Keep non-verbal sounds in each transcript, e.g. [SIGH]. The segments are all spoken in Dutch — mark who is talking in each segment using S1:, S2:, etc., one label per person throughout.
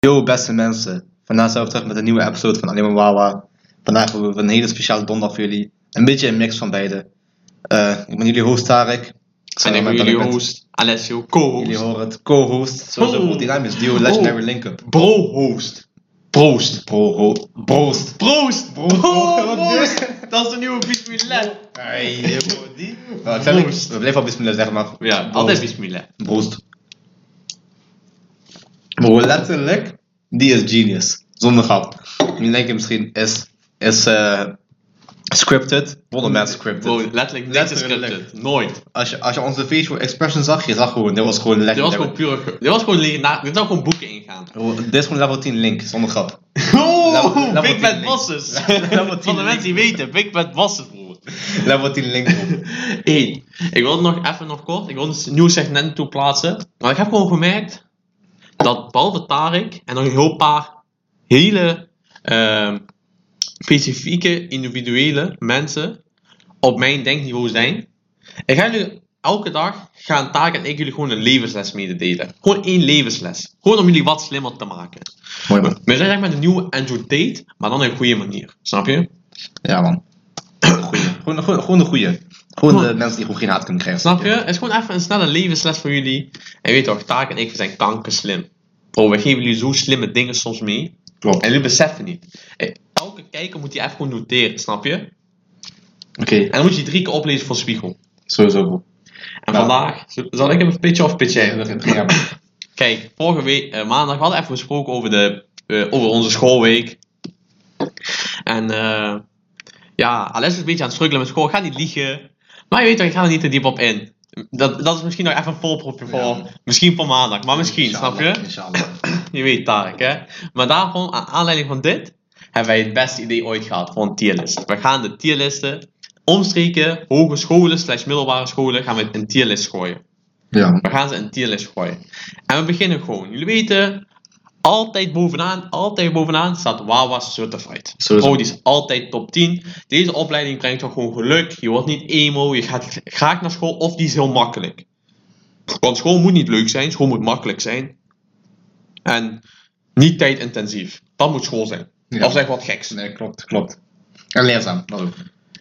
S1: Yo beste mensen, vandaag zijn we terug met een nieuwe episode van Alleen maar Wawa. Vandaag hebben we een hele speciale donderdag voor jullie. Een beetje een mix van beide. Eh, ik ben jullie host Tarek.
S2: En ik ben jullie host, Alessio,
S1: Jullie
S2: co-host,
S1: horen het, co-host. Sowieso
S2: Oh.
S1: goed, die naam is Duo Legendary Linkup.
S2: bro-host. Proost.
S1: Bro, Proost.
S2: Proost.
S1: Proost.
S2: Proost. Oh, Dat is de nieuwe Bismillah.
S1: Hey, Nou, ik zei, ik-
S2: Proost.
S1: we blijven al bismillah zeggen, maar
S2: Ja, oh. altijd Bismillah.
S1: Proost. Bro, letterlijk, die is genius. Zonder grap. Nu denk je misschien, is, is eh, scripted? Wonderman scripted.
S2: Bro, letterlijk niet
S1: Letterlijk.
S2: gescripted. Nooit.
S1: Als je, als je onze facial expression zag, je zag gewoon, dit was gewoon
S2: Dit
S1: lekker.
S2: was gewoon pure... ge- Dit was gewoon legendarisch. Dit zou gewoon boeken ingaan.
S1: Dit is gewoon level 10 Link, zonder
S2: [LAUGHS]
S1: grap. Level-
S2: Oh,
S1: level
S2: Big
S1: 10
S2: Bad
S1: link.
S2: [LAUGHS] Bosses.
S1: Level 10
S2: Van de mensen die weten, Big Bad Bosses, bro.
S1: Level 10 Link, bro.
S2: Eén. Ik wil het nog even nog kort. Ik wil dus een nieuw segment toeplaatsen. Maar ik heb gewoon gemerkt dat behalve Tarek en nog een heel paar hele ehm, specifieke individuele mensen op mijn denkniveau zijn. Ik ga jullie elke dag gaan Tarek en ik jullie gewoon een levensles mededelen. Gewoon één levensles. Gewoon om jullie wat slimmer te maken.
S1: Mooi man.
S2: We zijn echt met een nieuwe Andrew Tate, maar dan op een goede manier. Snap je?
S1: Ja man. Goeie. Gewoon, gewoon, gewoon de goeie. Gewoon de
S2: Goed.
S1: mensen die gewoon geen haat kunnen krijgen.
S2: Snap je? Het is gewoon even een snelle levensles voor jullie. En je weet toch, Taak en ik we zijn kankerslim. Bro, we geven jullie zo slimme dingen soms mee.
S1: Klopt.
S2: En jullie beseffen niet. Eh, Elke kijker moet die even gewoon noteren, snap je? En
S1: Oké,
S2: dan moet je die drie keer oplezen voor de spiegel.
S1: sowieso bro.
S2: En
S1: Nou.
S2: vandaag, zal ik hem pitchen of pitch jij?
S1: Ja, man.
S2: Kijk, vorige week, eh, maandag hadden we even gesproken over, de, eh, over onze schoolweek. En eh ja, Alessio is een beetje aan het struggelen met school. Ga niet liegen. Maar je weet toch, ik ga er niet te diep op in. Dat, dat is misschien nog even een voorproefje voor,
S1: Ja.
S2: misschien voor maandag. Maar misschien, snap je?
S1: Inshallah.
S2: Je weet Tarek, hè? Maar daarom, aan aanleiding van dit, hebben wij het beste idee ooit gehad voor een tierlist. We gaan de tierlisten omstreken, hogescholen slash middelbare scholen, gaan we een tierlist gooien.
S1: Ja man.
S2: We gaan ze in tierlist gooien. En we beginnen gewoon. Jullie weten, altijd bovenaan, altijd bovenaan staat Wawa Certified.
S1: Sowieso.
S2: Bro, die is altijd top 10. Deze opleiding brengt toch gewoon geluk. Je wordt niet emo, je gaat graag naar school of die is heel makkelijk. Want school moet niet leuk zijn, school moet makkelijk zijn. En niet tijdintensief. Dat moet school zijn.
S1: Ja.
S2: Of zeg wat geks.
S1: Nee, klopt, klopt. En leerzaam, dat ook.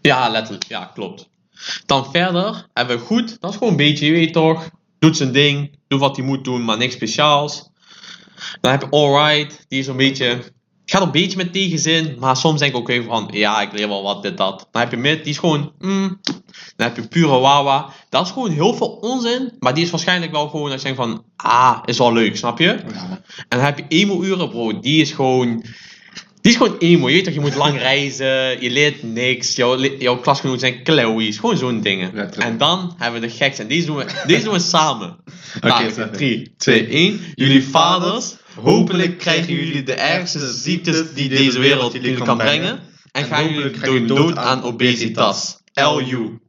S2: Ja, letterlijk. Ja, klopt. Dan verder hebben we goed. Dat is gewoon een beetje, je weet toch. Doet zijn ding. Doet wat hij moet doen, maar niks speciaals. Dan heb je Alright. Die is een beetje... Gaat een beetje met tegenzin. Maar soms denk ik ook even van... Ja, ik leer wel wat, dit, dat. Dan heb je Mid. Die is gewoon... mm. Dan heb je Pure Wawa. Dat is gewoon heel veel onzin. Maar die is waarschijnlijk wel gewoon... Dat je denkt van... Ah, is wel leuk, snap je?
S1: Ja, man.
S2: En dan heb je emo-uren, bro. Die is gewoon... Die is gewoon emo. Je weet toch, je moet lang reizen. Je leert niks. Jouw, le- jouw klasgenoten zijn klauwies. Gewoon zo'n dingen.
S1: Letterlijk.
S2: En dan hebben we de geks. En deze doen we, deze doen we [LAUGHS] samen. Nou,
S1: Oké, snap ik.
S2: 3, 2, 1. Jullie vaders, hopelijk krijgen jullie de ergste ziektes die deze wereld jullie kan brengen. En
S1: En
S2: gaan
S1: hopelijk
S2: jullie
S1: gaan jullie
S2: dood,
S1: dood aan
S2: aan obesitas. LU.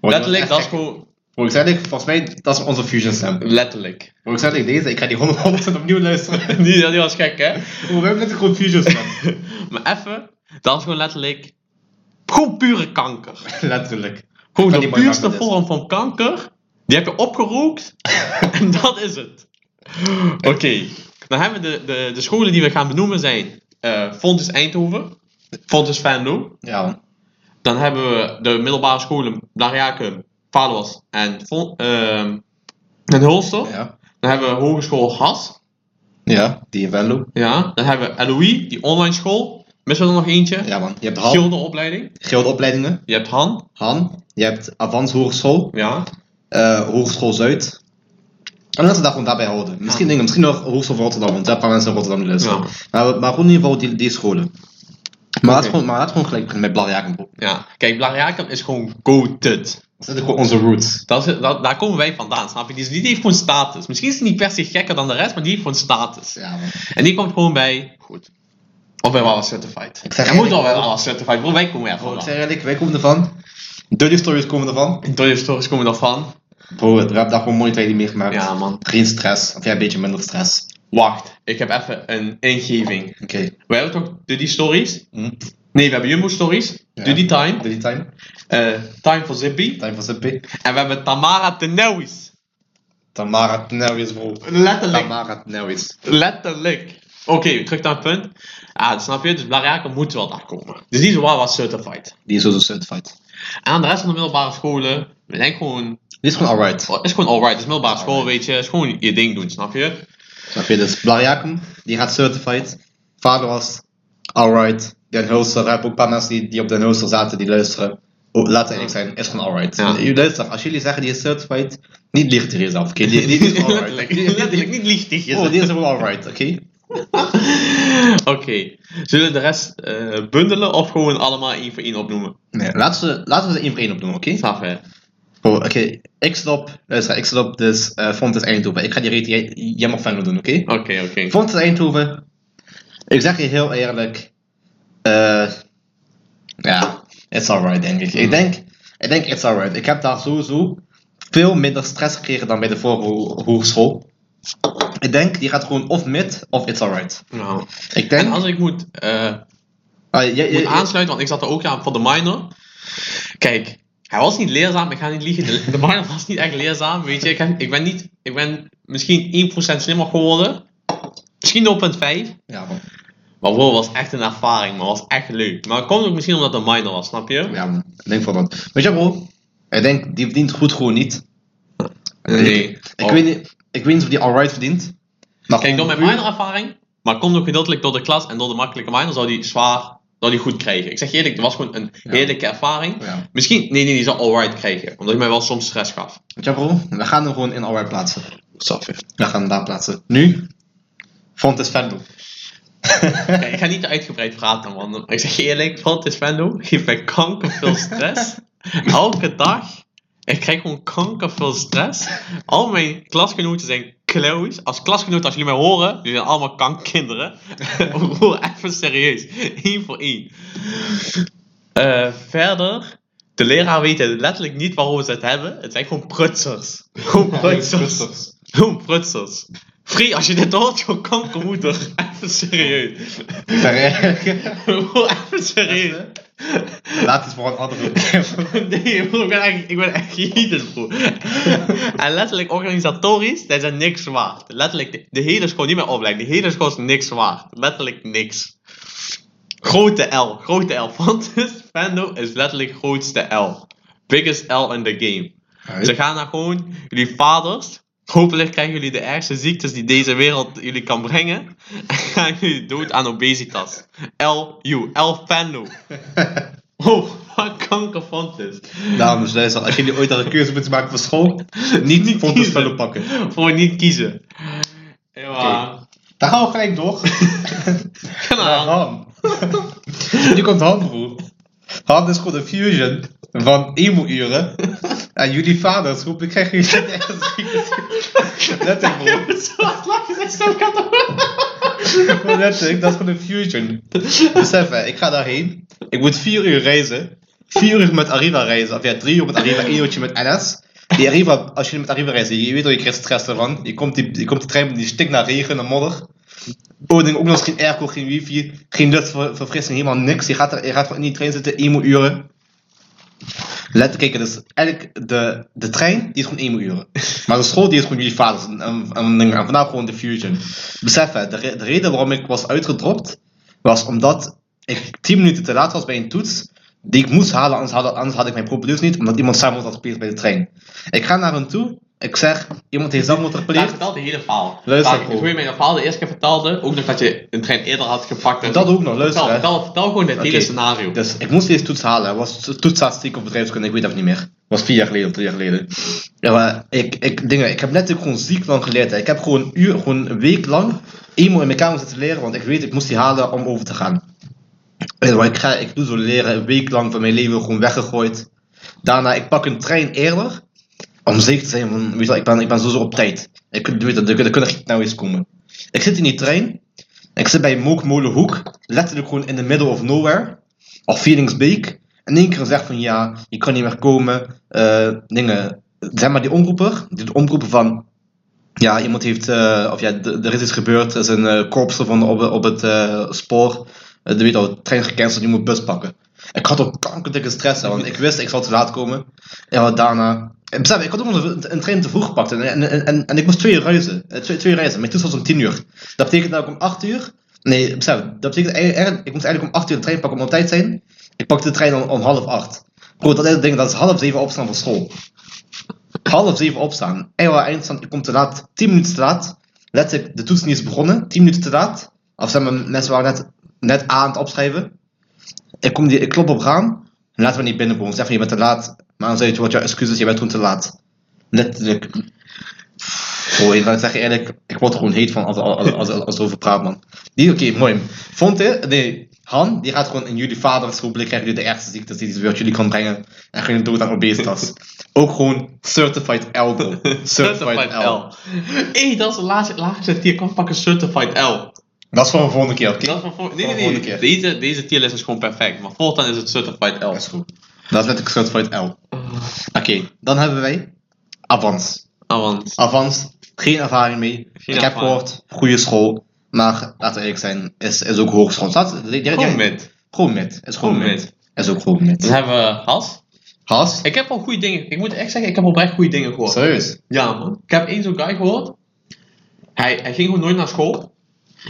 S1: Bro,
S2: Letterlijk, dat is
S1: echt-
S2: gewoon...
S1: Bro, ik zei dit, volgens mij, dat is onze fusion stem.
S2: Letterlijk. [LAUGHS]
S1: Bro, ik zei dit, deze, ik ga die 100% opnieuw luisteren.
S2: Die, die was gek, hè?
S1: Bro, we hebben net gewoon fusion stem.
S2: Maar even, dat is gewoon letterlijk. Gewoon pure kanker.
S1: [LAUGHS] Letterlijk.
S2: Gewoon
S1: kan
S2: de
S1: niet mooi
S2: puurste
S1: maken met dit.
S2: vorm van kanker. Die heb je
S1: [LAUGHS]
S2: opgerookt. en dat is het. Oké. Dan hebben we de, de, de scholen die we gaan benoemen zijn. eh Fontes Eindhoven. Fontes Venlo.
S1: Ja, man.
S2: Dan hebben we de middelbare scholen Blariaken, Paduas en, Fon- ehm, en Hulster.
S1: Ja.
S2: Dan hebben we Hogeschool Has.
S1: Ja, die Venlo.
S2: Ja. Dan hebben we LOE, die online school. Missen we er nog eentje?
S1: Ja, man. Je hebt Han,
S2: Gildeopleiding.
S1: Geldopleidingen.
S2: Je hebt Han.
S1: Han. Je hebt Avans Hogeschool.
S2: Ja.
S1: eh, Hogeschool Zuid. En laten we daar gewoon daarbij houden. Misschien, dingen, misschien nog Hogeschool van Rotterdam, want daar paar mensen in Rotterdam die luisteren.
S2: Ja.
S1: Maar, maar gewoon in ieder geval die, die scholen. Maar laten
S2: Oké.
S1: we gewoon- maar laten we gewoon gelijk beginnen met Blarjakenbroek.
S2: Ja, kijk, Blariaken is gewoon goated.
S1: Dat is gewoon onze roots.
S2: Dat is, dat, daar komen wij vandaan, snap je? Die, is- die heeft gewoon status. Misschien is hij niet per se gekker dan de rest, maar die heeft gewoon status.
S1: Ja, man.
S2: En die komt gewoon bij... Goed. Of bij Wawa Certified.
S1: Ik zeg
S2: Hij moet
S1: eigenlijk-
S2: wel bij Wawa Certified, bro. Wij komen er
S1: Bro, ik
S2: vandaan.
S1: zeg eerlijk, wij komen ervan. Dirty stories komen ervan.
S2: Door stories komen daarvan.
S1: Bro, we hebben daar gewoon mooie tijden meegemaakt.
S2: Ja, man.
S1: Geen stress. Of ja, een beetje minder stress.
S2: Wacht, ik heb even een ingeving.
S1: Oké.
S2: We hebben toch Duddy Stories?
S1: Hm.
S2: Nee, we hebben Jumbo Stories.
S1: Ja.
S2: Duddy Time.
S1: Dirty time.
S2: eh, time for Zippy.
S1: Time for Zippy.
S2: En we hebben Tamara Tenewis.
S1: Tamara Tenelwis, bro.
S2: Letterlijk.
S1: Tamara Tenelwis.
S2: Letterlijk. Oké, terug naar het punt. Ah, dat snap je? Dus Blariaken moet wel daar komen. Dus die is wel wat certified.
S1: Die is sowieso certified.
S2: En aan de rest van de middelbare scholen, ik denk gewoon, oh,
S1: Die is gewoon alright.
S2: is gewoon alright. Het is middelbare school, weet je. is gewoon je ding doen, snap je?
S1: Snap je? Dus Blariakum, die gaat certified. Vader was alright. Den Hulster, heb ook een paar mensen die, die op Den Hulster zaten, die luisteren. Oh, laat eerlijk zijn, is gewoon alright.
S2: Ja.
S1: Je Luister, als jullie zeggen die is certified, niet licht er eens af. oké? Die, die is gewoon [LAUGHS] alright.
S2: Letterlijk. [LAUGHS] Letterlijk niet lichtig. is
S1: Oh,
S2: het.
S1: die is gewoon alright, oké? Oh.
S2: [LAUGHS] Oké. Zullen we de rest eh, bundelen of gewoon allemaal één voor één opnoemen?
S1: Nee, laten we, laten we ze één voor één opdoen, oké?
S2: Snap je?
S1: Cool, Oké, ik stop. Luister, ik stop dus eh Fontes Eindhoven. Ik ga die rate jij- jij mag Venlo doen, oké?
S2: Oké, oké.
S1: Fontes Eindhoven, ik zeg je heel eerlijk, eh, ja, it's alright denk
S2: Hmm.
S1: ik. Ik denk, ik denk it's alright. Ik heb daar sowieso veel minder stress gekregen dan bij de vorige hogeschool. Ik denk, die gaat gewoon of mid of it's alright.
S2: Nou.
S1: Ik denk,
S2: En als ik moet eh,
S1: Ah, je- je-
S2: moet
S1: je-
S2: aansluiten, want ik zat er ook aan voor de minor. Kijk, hij was niet leerzaam, ik ga niet liegen. De, de minor was niet echt leerzaam, weet je. Ik, heb- ik, ben, niet, ik ben misschien 1% slimmer geworden. Misschien 0,5.
S1: ja, man.
S2: Maar wow, was echt een ervaring, man. Was echt leuk. Maar het komt ook misschien omdat het een minor was, snap je?
S1: ja, man. ik denk voor dat. Weet je bro, ik denk, die verdient goed gewoon niet. Ik,
S2: Oh.
S1: weet niet ik weet niet of die alright verdient. Maar
S2: Kijk,
S1: gewoon
S2: door mijn
S1: puur-
S2: minor ervaring, maar komt ook gedeeltelijk door de klas en door de makkelijke minor, zou die zwaar zou die goed krijgen. Ik zeg je eerlijk, het was gewoon een heerlijke ervaring.
S1: Ja.
S2: Misschien, nee, nee, die zou alright krijgen, omdat hij mij wel soms stress gaf.
S1: Weet je bro, we gaan hem gewoon in alright plaatsen.
S2: Snap je?
S1: We gaan hem daar plaatsen. Nu, Fontes Venlo. [LAUGHS]
S2: ik ga niet te uitgebreid praten, man. Maar ik zeg je eerlijk, Front is Vendo geeft mij kanker veel stress. Elke dag. Ik krijg gewoon kanker veel stress. Al mijn klasgenoten zijn klauws. Als klasgenoten, als jullie mij horen, jullie zijn allemaal kankkinderen. [LAUGHS] Gewoon even serieus. Eén voor één. Eh, verder. De leraar weet letterlijk niet waarover ze het hebben. Het zijn gewoon prutsers. Gewoon prutsers. Gewoon prutsers. Free, als je dit hoort, jouw kankermoeder. Even serieus. Gewoon even serieus.
S1: Laat het voor een andere keer.
S2: Nee, bro, ik ben echt, ik ben echt jeetend, bro. En letterlijk organisatorisch, dat is er niks waard. Letterlijk, de, de hele school, niet meer opleiding, de hele school is niks waard. Letterlijk niks. Grote L, grote L. [LAUGHS] Fantus Fendo is letterlijk grootste L. Biggest L in the game. Ze gaan naar gewoon jullie vaders. Hopelijk krijgen jullie de ergste ziektes die deze wereld jullie kan brengen. En gaan jullie dood aan obesitas. L-U, L-Fendo. Oh, wat kanker vond het.
S1: Dames, luister, als jullie ooit al een keuze moeten maken voor school, Nou, niet,
S2: Niet
S1: Fontes
S2: kiezen.
S1: Venlo pakken.
S2: Voor niet kiezen. Ja, [LAUGHS]
S1: Daar gaan we gelijk door.
S2: Kan
S1: Naar
S2: aan.
S1: Han. Nu komt Han, broer. Han is gewoon een fusion van emo-uren. En jullie vaders roepen, ik krijg jullie de ergste ziektes. Letterlijk, broer.
S2: Zoals lang zijn stem gaat
S1: Gewoon [LAUGHS] letterlijk, dat is gewoon een fusion. Besef hè, ik ga daarheen. Ik moet vier uur reizen. Vier uur met Arriva reizen. Of ja, drie uur met Arriva, één uurtje met NS. Die Arriva, als je met Arriva reist, je weet al, je krijgt stress ervan. Je komt die, je komt die trein, die stinkt naar regen en modder. Oh, ding, ook nog eens geen airco, geen wifi, geen luchtverfrissing, helemaal niks. Je gaat, er, je gaat in die trein zitten, emo uren. Let, kijk, dus eigenlijk de, de trein, die is gewoon emo uren. Maar de school, die is gewoon jullie vaders. En, en, en, en vandaar gewoon de fusion. Besef hè, de, re- de reden waarom ik was uitgedropt, was omdat ik 10 minuten te laat was bij een toets die ik moest halen, anders had, anders had ik mijn propedeus niet, omdat iemand samen had gepleegd bij de trein. Ik ga naar hem toe, ik zeg, iemand heeft zelfmoord
S2: Hij
S1: gepleegd.
S2: vertelde de hele verhaal.
S1: Luister,
S2: Maar,
S1: bro.
S2: Hoe je mij dat verhaal de eerste keer vertelde, ook nog dat je een trein eerder had gepakt. En
S1: Dat ook nog,
S2: Vertel,
S1: luister hè.
S2: vertel, vertel gewoon het hele
S1: Oké.
S2: scenario.
S1: Dus ik moest deze toets halen. Het was toetsstatistiek of bedrijfskunde, ik weet dat niet meer. Het was vier jaar geleden of drie jaar geleden. Ja, maar ik, ik, dingen, ik heb letterlijk gewoon ziek lang geleerd. hè. Ik heb gewoon een uur, gewoon een week lang eenmaal in mijn kamer zitten leren, want ik weet, ik moest die halen om over te gaan. En wat ik, ga, ik doe zo leren, een week lang van mijn leven gewoon weggegooid. Daarna, ik pak een trein eerder, om zeker te zijn van, weet je wel, ik ben, ik ben sowieso op tijd. Ik weet dat, er, er kunnen geen nou eens komen. Ik zit in die trein, ik zit bij Mookmolenhoek, letterlijk gewoon in the middle of nowhere of Feelingsbeek. In één keer zegt van ja, je kan niet meer komen. eh, dingen. Zeg maar die omroeper, die de omroepen van. Ja, iemand heeft. eh, of ja, d- er is iets gebeurd. Er is een eh, korps gevonden op, op het eh, spoor. Eh, Je weet al, de trein is gecanceld, je moet bus pakken. Ik had ook kankerdikke stress, hè, want ik wist ik zal te laat komen. En wat daarna. En besef, ik had ook nog een, een trein te vroeg gepakt en, en, en, en, en ik moest twee reizen. Eh, Twee, twee reizen. Mijn toets was om 10 uur. Dat betekent dat ik om 8 uur. Nee, besef, dat betekent eigenlijk, ik moest eigenlijk om 8 uur de trein pakken om op tijd te zijn. Ik pakte de trein om, om half 8. Bro, dat is het ding, dat is half 7 opstaan voor school. Half 7 opstaan. Ewa, eindstand, ik kom te laat. 10 minuten te laat. Letterlijk, de toets niet is begonnen. 10 minuten te laat. Of zeg maar, mensen waren net, net aan het opschrijven. Ik, kom die, ik klop op raam. Laten we niet binnenkomen. Zeg van, je bent te laat. Maar dan zei je, wat jouw excuses, je bent toen te laat. Letterlijk. Oh, ik zeg je eerlijk, ik word er gewoon heet van als, als, als, als, als over praat, man. Die, oké, mooi. Vond je? Nee, Han, die gaat gewoon in jullie vadersroepelijk krijgen jullie de ergste ziektes die hij jullie kan brengen. En gaan jullie dood aan obesitas. Ook gewoon certified L,
S2: [LAUGHS]
S1: bro.
S2: Certified L. [LAUGHS] Hé, dat is de laatste, laatste tier. Kan pakken Certified L.
S1: Dat is voor een volgende keer, oké?
S2: Dat is van voor...
S1: Voor
S2: Nee,
S1: de
S2: nee, nee.
S1: volgende keer.
S2: Deze, deze tierlist is gewoon perfect. Maar voortaan is het Certified L.
S1: Dat is goed. Dat is letterlijk certified L. Oké, dan hebben wij Avans.
S2: Ah, want...
S1: Avans, geen ervaring mee. ik heb
S2: ervaring.
S1: gehoord, goede school. Maar laten we eerlijk zijn, is, is ook hogeschool. Staat,
S2: Gewoon met.
S1: Gewoon met. Is gewoon
S2: Gewoon
S1: met.
S2: met.
S1: Is ook gewoon
S2: Dan
S1: met.
S2: hebben we Has.
S1: Has?
S2: Ik heb al goede dingen. Ik moet echt zeggen, ik heb oprecht goede dingen gehoord.
S1: Serieus?
S2: Ja, man. Ik heb één zo'n guy gehoord. Hij, hij ging gewoon nooit naar school.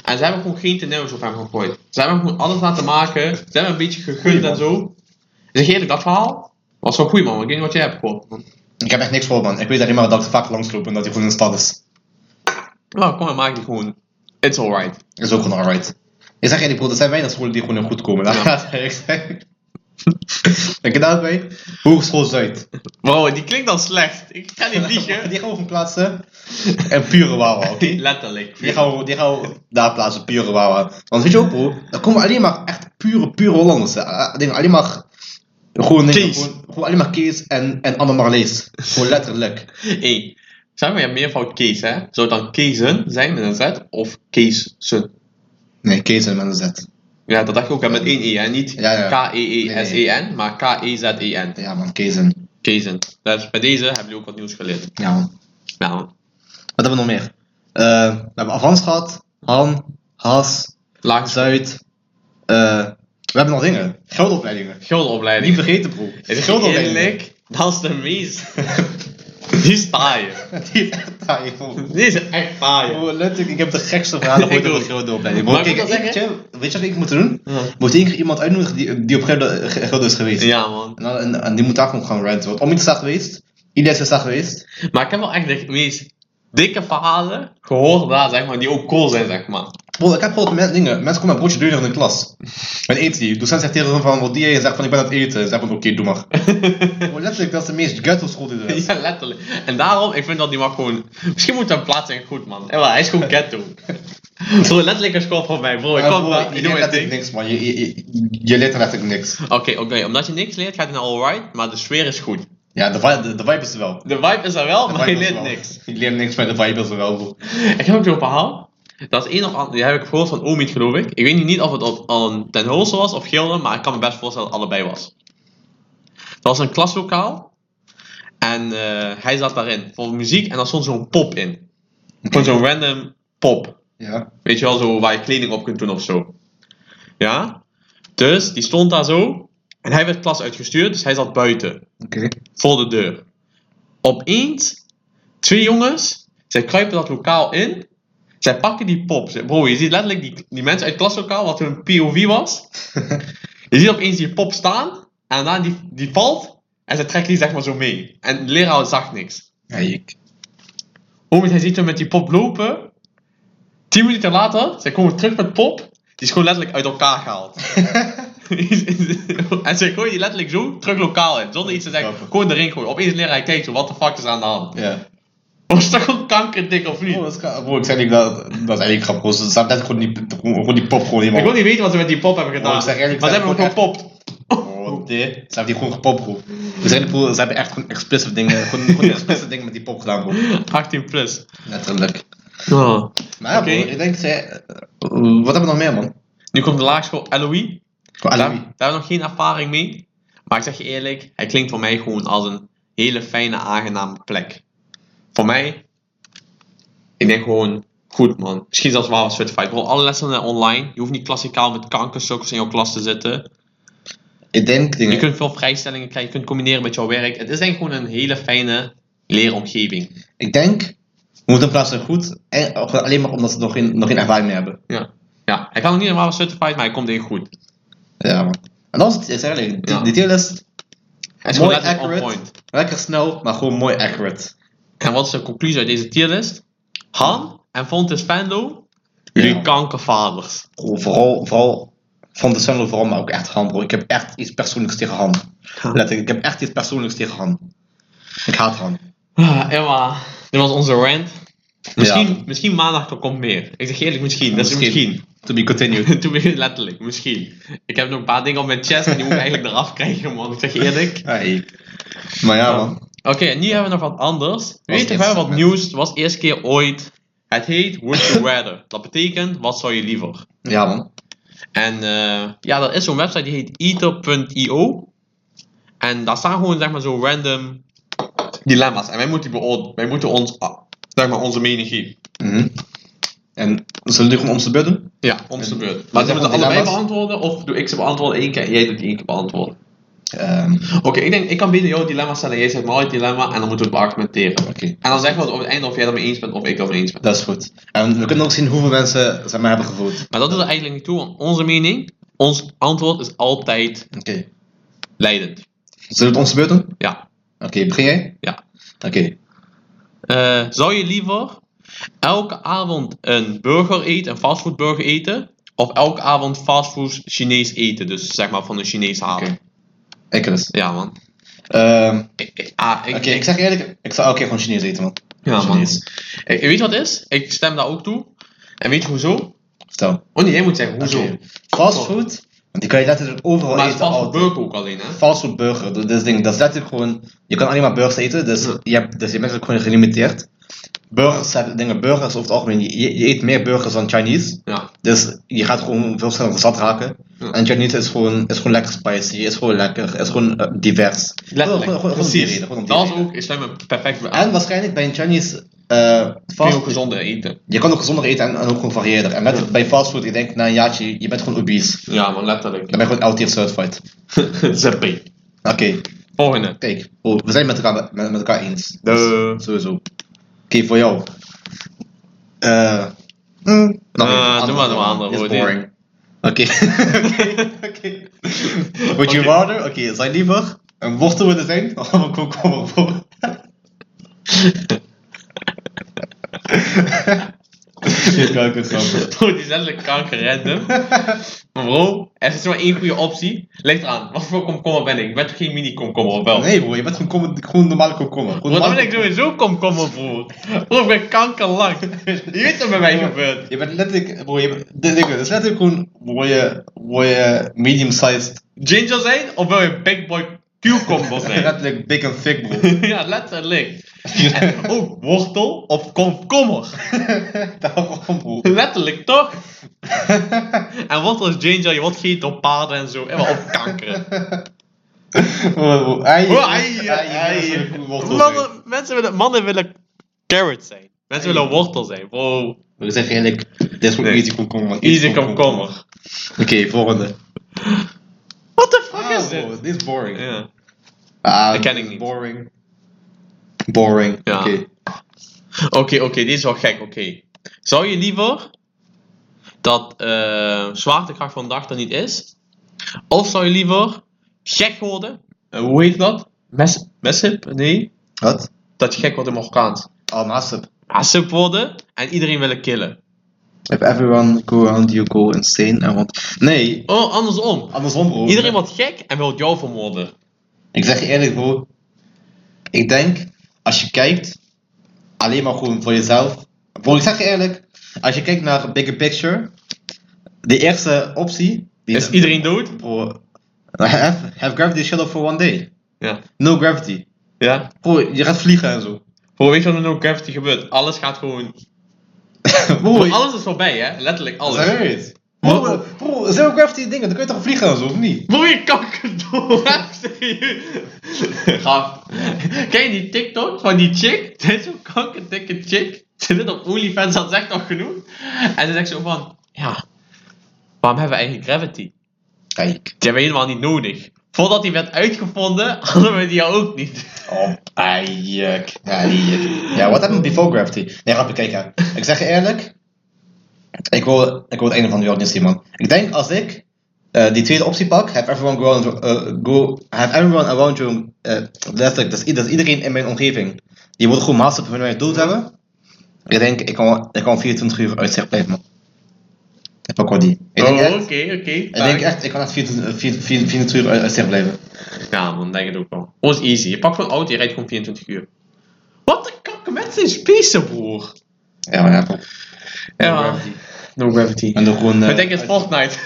S2: En ze hebben gewoon geen teneurs op hem gegooid. Ze hebben hem gewoon alles laten maken. Ze hebben hem een beetje gegund
S1: Goeie
S2: en
S1: man.
S2: zo. Zeg je eerlijk, dat verhaal was wel goed, man. Ik weet niet wat jij hebt gehoord. man.
S1: Ik heb echt niks voor, man. Ik weet alleen maar dat ik vaak langsloopt en dat hij gewoon in de stad is.
S2: Nou, kom en maak die gewoon. It's alright.
S1: Is ook gewoon alright. Ik zeg eerlijk, bro, er zijn weinig scholen die gewoon heel goed komen. Laat
S2: Ja.
S1: laat ik eerlijk zijn. [LAUGHS] Ik daarbij, Hogeschool Zuid.
S2: Wow, die klinkt al slecht. Ik ga niet liegen.
S1: Die gaan we gewoon plaatsen. En pure wawa,
S2: [LAUGHS]
S1: oké?
S2: Letterlijk.
S1: [LAUGHS] Die gaan, we, die gaan we daar plaatsen, pure wawa. Want weet je ook, bro, dan komen alleen maar echt pure, pure Hollanders. Eh, Dingen, alleen maar. Gewoon, dingen,
S2: Kees.
S1: gewoon, gewoon alleen maar Kees en, en Anne Marlees. Gewoon letterlijk.
S2: Hé, zeg maar, je hebt meervoud Kees, hè? Zou het dan Kezen zijn met een Z of Keesen?
S1: Nee, Kees en een Z.
S2: Ja, dat dacht ik ook hè, met één E, hè? Niet
S1: Ja, ja.
S2: K-E-E-S-E-N, maar E K-E-Z-E-N.
S1: Ja, man, Kees en.
S2: Kezen. Dus bij deze hebben jullie ook wat nieuws geleerd.
S1: Ja, man.
S2: Nou,
S1: Wat hebben we nog meer? Eh, we hebben Avans gehad, Han, Has,
S2: laag
S1: Zuid. Eh, we hebben nog dingen. Geldopleidingen. Niet
S2: guldopleiding.
S1: vergeten, bro.
S2: Het is
S1: Geldopleidingen.
S2: eerlijk, dat is de meest. Die is taaien.
S1: [LAUGHS] Die [LAUGHS] is echt taai, bro.
S2: Die is echt taaien.
S1: Oh, letterlijk, ik heb de gekste
S2: [LAUGHS]
S1: verhalen
S2: Ik
S1: ooit
S2: ook.
S1: over geldopleiding.
S2: Maar
S1: Maar
S2: ik
S1: kijk,
S2: moet wel
S1: eentje, weet je wat ik moet doen? Moet één keer iemand uitnodigen die, die op Gildo Gildo is geweest.
S2: Ja, man.
S1: En, dan- en, en die moet daar gewoon gaan ranten. Want om iets is daar geweest, iedereen is daar geweest.
S2: Maar ik heb wel echt de meest dikke verhalen gehoord daar, zeg maar, die ook cool zijn, zeg maar. [LAUGHS]
S1: Bro, ik heb gehoord met dingen. Mensen komen een broodje deur in de klas. En eten die. Docent zegt tegen hen van, wat die en zegt van, ik ben aan het eten. Zeg van, oké, doe
S2: [LAUGHS]
S1: maar. Bro, letterlijk, dat is de meest ghetto school die er is.
S2: Ja, letterlijk. En daarom, ik vind dat die mag gewoon. Misschien moet hem plaatsen goed, man. Ja, maar hij is gewoon ghetto. [LAUGHS] bro, letterlijk een school voor mij, bro. Ik
S1: Ja,
S2: kom
S1: bro,
S2: maar,
S1: je
S2: ik doe
S1: leert
S2: mijn
S1: letterlijk
S2: ding.
S1: niks, man. Je, je, je, je leert er letterlijk niks.
S2: Oké, oké. Omdat je niks leert, gaat hij naar alright, maar de sfeer is goed.
S1: Ja, de vibe, de, de vibe is er wel.
S2: De vibe is er wel,
S1: De
S2: maar [LAUGHS] je
S1: vibe is er
S2: leert
S1: wel.
S2: niks.
S1: Ik leer niks, maar de vibe is er wel, bro.
S2: Ik [LAUGHS] heb ook zo'n verhaal. Dat is één of ander, die heb ik gehoord van Omid, geloof ik. Ik weet niet of het op, aan Den Hulse was of Gilde, maar ik kan me best voorstellen dat het allebei was. Dat was een klaslokaal. En eh, hij zat daarin voor muziek en daar stond zo'n pop in. Gewoon zo'n random pop.
S1: Ja.
S2: Weet je wel, zo waar je kleding op kunt doen of zo. Ja? Dus die stond daar zo. En hij werd klas uitgestuurd, dus hij zat buiten.
S1: Oké.
S2: Voor de deur. Opeens, twee jongens, zij kruipen dat lokaal in. Zij pakken die pop. Zij- Bro, je ziet letterlijk die, die mensen uit het klaslokaal, wat hun POV was. Je ziet opeens die pop staan. En daarna die, die valt. En ze trekken die zeg maar zo mee. En de leraar zag niks.
S1: ja, ik.
S2: Homie, hij ziet hem met die pop lopen. Tien minuten later, zij komen terug met pop. Die is gewoon letterlijk uit elkaar gehaald. [LAUGHS] en ze gooien die letterlijk zo terug lokaal in. Zonder iets te zeggen.
S1: Grappig.
S2: Gewoon erin gooien. Opeens leren hij kijkt zo, what the fuck is er aan de hand?
S1: Ja.
S2: Was dat gewoon kankerdik of niet?
S1: Oh, dat is gra- bro, ik zei niet dat, dat is eigenlijk grappig. bro. Ze staat net gewoon die, gewoon die pop gewoon
S2: Ik wil
S1: helemaal.
S2: niet weten wat ze met die pop hebben gedaan.
S1: Oh, ik zeg eerlijk,
S2: maar ze
S1: ik
S2: hebben hem
S1: zeg
S2: gepopt.
S1: Oh, dit. Ze hebben die gewoon gepopt, bro. Dus eigenlijk, bro, ze hebben echt gewoon expliciet dingen, gewoon, gewoon expliciet dingen met die pop gedaan, bro.
S2: 18 plus.
S1: Letterlijk.
S2: Oh.
S1: Maar ja,
S2: Oké.
S1: bro, ik denk, ze, eh, wat hebben we nog meer, man?
S2: Nu komt de laagschool LOE.
S1: Gewoon
S2: Daar,
S1: Alawi.
S2: daar hebben we nog geen ervaring mee. Maar ik zeg je eerlijk, hij klinkt voor mij gewoon als een hele fijne, aangename plek. Voor mij, ik denk gewoon goed man. Misschien zelfs wel wat certified. Gewoon alle lessen zijn online. Je hoeft niet klassikaal met kankersukkels in jouw klas te zitten.
S1: Ik denk
S2: Je
S1: dingen.
S2: kunt veel vrijstellingen krijgen, je kunt combineren met jouw werk. Het is denk ik gewoon een hele fijne leeromgeving.
S1: Ik denk, we moeten in plaats van goed, en, ook alleen maar omdat ze nog geen, nog geen ervaring meer hebben.
S2: Ja. ja. Hij kan nog niet helemaal certified, maar hij komt heel goed.
S1: Ja, man. En dat is het is eigenlijk.
S2: Ja.
S1: De detailist,
S2: Hij is gewoon
S1: mooi
S2: letterlijk on
S1: accurate.
S2: point.
S1: Lekker snel, maar gewoon mooi accurate.
S2: En wat is de conclusie uit deze tierlist? Han en Fontes Fendo, jullie
S1: Ja.
S2: kankervaders.
S1: Gewoon Vooral, vooral van de Sunderland vooral, maar ook echt Han, bro. Ik heb echt iets persoonlijks tegen Han. Letterlijk, ik heb echt iets persoonlijks tegen Han. Ik haat Han.
S2: Ah, Emma, dit was onze rant. Misschien,
S1: Ja.
S2: misschien maandag er komt meer. Ik zeg eerlijk, misschien. Dat is
S1: Misschien.
S2: misschien. [LAUGHS]
S1: To be [LAUGHS] continued.
S2: Toen ben je letterlijk, misschien. Ik heb nog een paar dingen op mijn chest en die moet ik eigenlijk eraf krijgen, man. Ik zeg je eerlijk.
S1: Hey. Maar ja,
S2: Ja.
S1: man.
S2: Oké, nu hebben we nog wat anders. Weet je,
S1: dit
S2: we hebben wat
S1: segment?
S2: nieuws. Het was de eerste keer ooit. Het heet Would You Rather. Dat betekent, wat zou je liever?
S1: Ja, man.
S2: En eh, ja, er is zo'n website die heet eater.io. En daar staan gewoon, zeg maar, zo random dilemma's. En wij moeten, die beoord- wij moeten ons, ah, zeg maar, onze mening geven.
S1: Mhm. En zullen we gewoon om zijn bedden?
S2: Ja, om zijn beurt.
S1: Maar
S2: Maar
S1: zijn
S2: zullen we
S1: het
S2: ze allebei
S1: dilemma's?
S2: beantwoorden? Of doe ik ze beantwoorden één keer en jij doet één keer beantwoorden?
S1: Ehm,
S2: Oké, ik denk, ik kan beter jouw dilemma stellen. Jij zegt mijn dilemma en dan moeten we het beargumenteren.
S1: Oké,
S2: En dan zeggen we op het einde of jij ermee eens bent of ik ermee eens ben.
S1: dat is goed. En we kunnen ook zien hoeveel mensen zeg maar, hebben gevoeld.
S2: Maar dat doet er eigenlijk niet toe, want onze mening, ons antwoord is altijd
S1: Oké.
S2: leidend.
S1: Zullen we het om zijn beurt doen?
S2: Ja.
S1: Oké, begin jij?
S2: Ja.
S1: Oké.
S2: Eh, zou je liever elke avond een burger eten, een fastfoodburger eten, of elke avond fastfood Chinees eten? Dus zeg maar van een Chinese avond.
S1: Oké. Ik dus.
S2: Ja, man.
S1: Ehm,
S2: Ik- ik- ah, ik,
S1: Oké, ik zeg eerlijk, ik zou elke keer gewoon Chinees eten, man.
S2: ja, man.
S1: Chinees.
S2: Ik- weet je wat het is? Ik stem daar ook toe. En weet je hoezo?
S1: Vertel.
S2: Oh nee, jij moet zeggen hoezo.
S1: Oké. Fastfood, want die kan je letterlijk overal
S2: Maar het is
S1: eten. altijd.
S2: fastfoodburger ook alleen, hè?
S1: fastfood burger. Dat is, ding, dat is letterlijk gewoon. Je kan alleen maar burgers eten, dus
S2: Ja.
S1: je, hebt, dus je bent ook gewoon gelimiteerd. Burgers hebben dingen, burgers over het algemeen. Je, je eet meer burgers dan Chinese.
S2: Ja.
S1: Dus je gaat gewoon veel sneller zat raken.
S2: Ja.
S1: En Chinese is gewoon, is gewoon lekker spicy, is gewoon lekker, is gewoon eh, divers.
S2: Letterlijk.
S1: Gewoon- gewoon- gewoon om die
S2: Precies.
S1: reden, gewoon om die
S2: dat is
S1: reden.
S2: ook, ik stem hem perfect bij aan.
S1: En waarschijnlijk bij een Chinese eh
S2: Veel
S1: fast,
S2: gezonder eten.
S1: je kan ook gezonder eten en, en ook gewoon variëerder. En met,
S2: Ja.
S1: bij fastfood, ik denk na een jaartje, je bent gewoon obese.
S2: Ja, man, letterlijk. [LAUGHS]
S1: Dan ben je gewoon out certified.
S2: Zappie.
S1: Oké,
S2: Volgende.
S1: kijk, oh, we zijn het met elkaar, met, met elkaar eens. Dus,
S2: De...
S1: Sowieso. Oké, voor jou. Eh. mm, nog
S2: Eh,
S1: even.
S2: doe
S1: Andere
S2: maar, doe maar,
S1: vraag.
S2: andere
S1: Is
S2: woorden.
S1: boring. Oké. [LAUGHS] Oké. Would you
S2: Oké.
S1: rather? Oké, zou je liever een wortel willen zijn? [LAUGHS] Of een
S2: [LAUGHS]
S1: komkommer? Dit kan [LAUGHS] ik ook grappig.
S2: Bro, die is letterlijk
S1: [LAUGHS]
S2: kanker random. Maar bro, er is maar één goede optie. Ligt eraan, wat voor komkommer ben ik? Ik ben toch geen mini-komkommer, of wel?
S1: Nee bro, je bent gewoon, kom- gewoon een normale komkommer. Gewoon
S2: Bro, dan
S1: normale
S2: ben ik sowieso komkommer, broer. Bro, ik ben kankerlang. Je weet wat bij mij gebeurt.
S1: Je bent letterlijk, bro, je bent, dit ding is letterlijk gewoon, word je, word je medium-sized,
S2: Ginger zijn, of wil je big boy
S1: [LAUGHS]
S2: cucumber zijn?
S1: letterlijk big and thick bro.
S2: [LAUGHS] ja, letterlijk. En ook wortel of komkommer.
S1: [LAUGHS] Daarom, bro.
S2: Letterlijk, toch? En wortel is ginger, je wordt gegeten door paarden en zo. En wel op kankeren.
S1: Oh, ai,
S2: Oh, ai,
S1: ai,
S2: ai.
S1: dat is een wortel, zeg.
S2: Mannen, mensen willen, mannen willen carrot zijn. Mensen
S1: Ei.
S2: willen wortel zijn. Wow.
S1: We zeggen eerlijk, dit is gewoon
S2: Nee.
S1: easy komkommer.
S2: Easy komkommer.
S1: Oké, volgende.
S2: What the fuck
S1: Ah,
S2: is dit?
S1: bro, dit is boring.
S2: Ja.
S1: Ah,
S2: Dat ken
S1: dit
S2: ik
S1: is
S2: niet.
S1: Boring. Boring,
S2: Ja.
S1: oké.
S2: Oké, oké, dit is wel gek. Oké. Zou je liever dat eh zwaartekracht van de dag er niet is? Of zou je liever gek worden? Eh, hoe heet dat? Mes messip? Nee.
S1: Wat?
S2: Dat je gek wordt in Marokkaans.
S1: Oh, massive.
S2: Asip worden en iedereen willen killen.
S1: If everyone go around you go insane and want... Nee,
S2: Oh, andersom.
S1: andersom bro.
S2: Iedereen wordt gek en wil jou vermoorden.
S1: Ik zeg je eerlijk bro, ik denk, als je kijkt, alleen maar gewoon voor jezelf. Bro, ik zeg je eerlijk, als je kijkt naar bigger picture, de eerste optie... Die
S2: Is iedereen dood?
S1: Bro, [LAUGHS] have, have gravity shut off for one day.
S2: Ja.
S1: No gravity.
S2: Ja.
S1: Bro, je gaat vliegen en zo. [LAUGHS]
S2: Bro, weet je wat er met no gravity gebeurt? Alles gaat gewoon...
S1: Bro,
S2: Bro, alles is voorbij, hè? Letterlijk alles.
S1: Serieus?
S2: Bro,
S1: Bro, bro, zero gravity dingen, dan kun je toch vliegen en zo, of niet?
S2: Bro, je kanker door. [LAUGHS] Serieus. Gaaf. Ken je die TikTok van die chick? Dit is zo'n kankerdikke chick. Ze zit op OnlyFans, dat zegt nog genoeg. En ze zegt zo van... Ja, waarom hebben we eigen gravity?
S1: Kijk.
S2: Die hebben we helemaal niet nodig. Voordat die werd uitgevonden, [LAUGHS] hadden we die ook niet.
S1: Oh, eik. Ja, die- ja, what happened before gravity? Nee, grapje, kijk hè. Ik zeg je eerlijk. Ik wil, ik wil het einde van de wereld niet zien, man. Ik denk als ik eh, die tweede optie pak, have everyone, go around, eh, go, have everyone around you, eh, letterlijk, dus, i- dat is iedereen in mijn omgeving, die wordt gewoon master op hun eigen doel hebben. Ik denk, ik kan, ik kan 24 uur uitzicht blijven, man. Ik pak wel die. Ik denk
S2: Oh,
S1: echt,
S2: oké, oké.
S1: ik, denk echt, ik kan echt 24, 24, 24 uur uit- uitzicht blijven.
S2: Ja, man, denk het ook wel. Oh, is easy. Je pakt gewoon auto, je rijdt gewoon 24 uur. Wat een kakke mensen is spacen, broer.
S1: Ja, maar ja.
S2: Ja. No gravity.
S1: En dan gewoon... eh,
S2: Ik denk het
S1: [LAUGHS]
S2: Fortnite.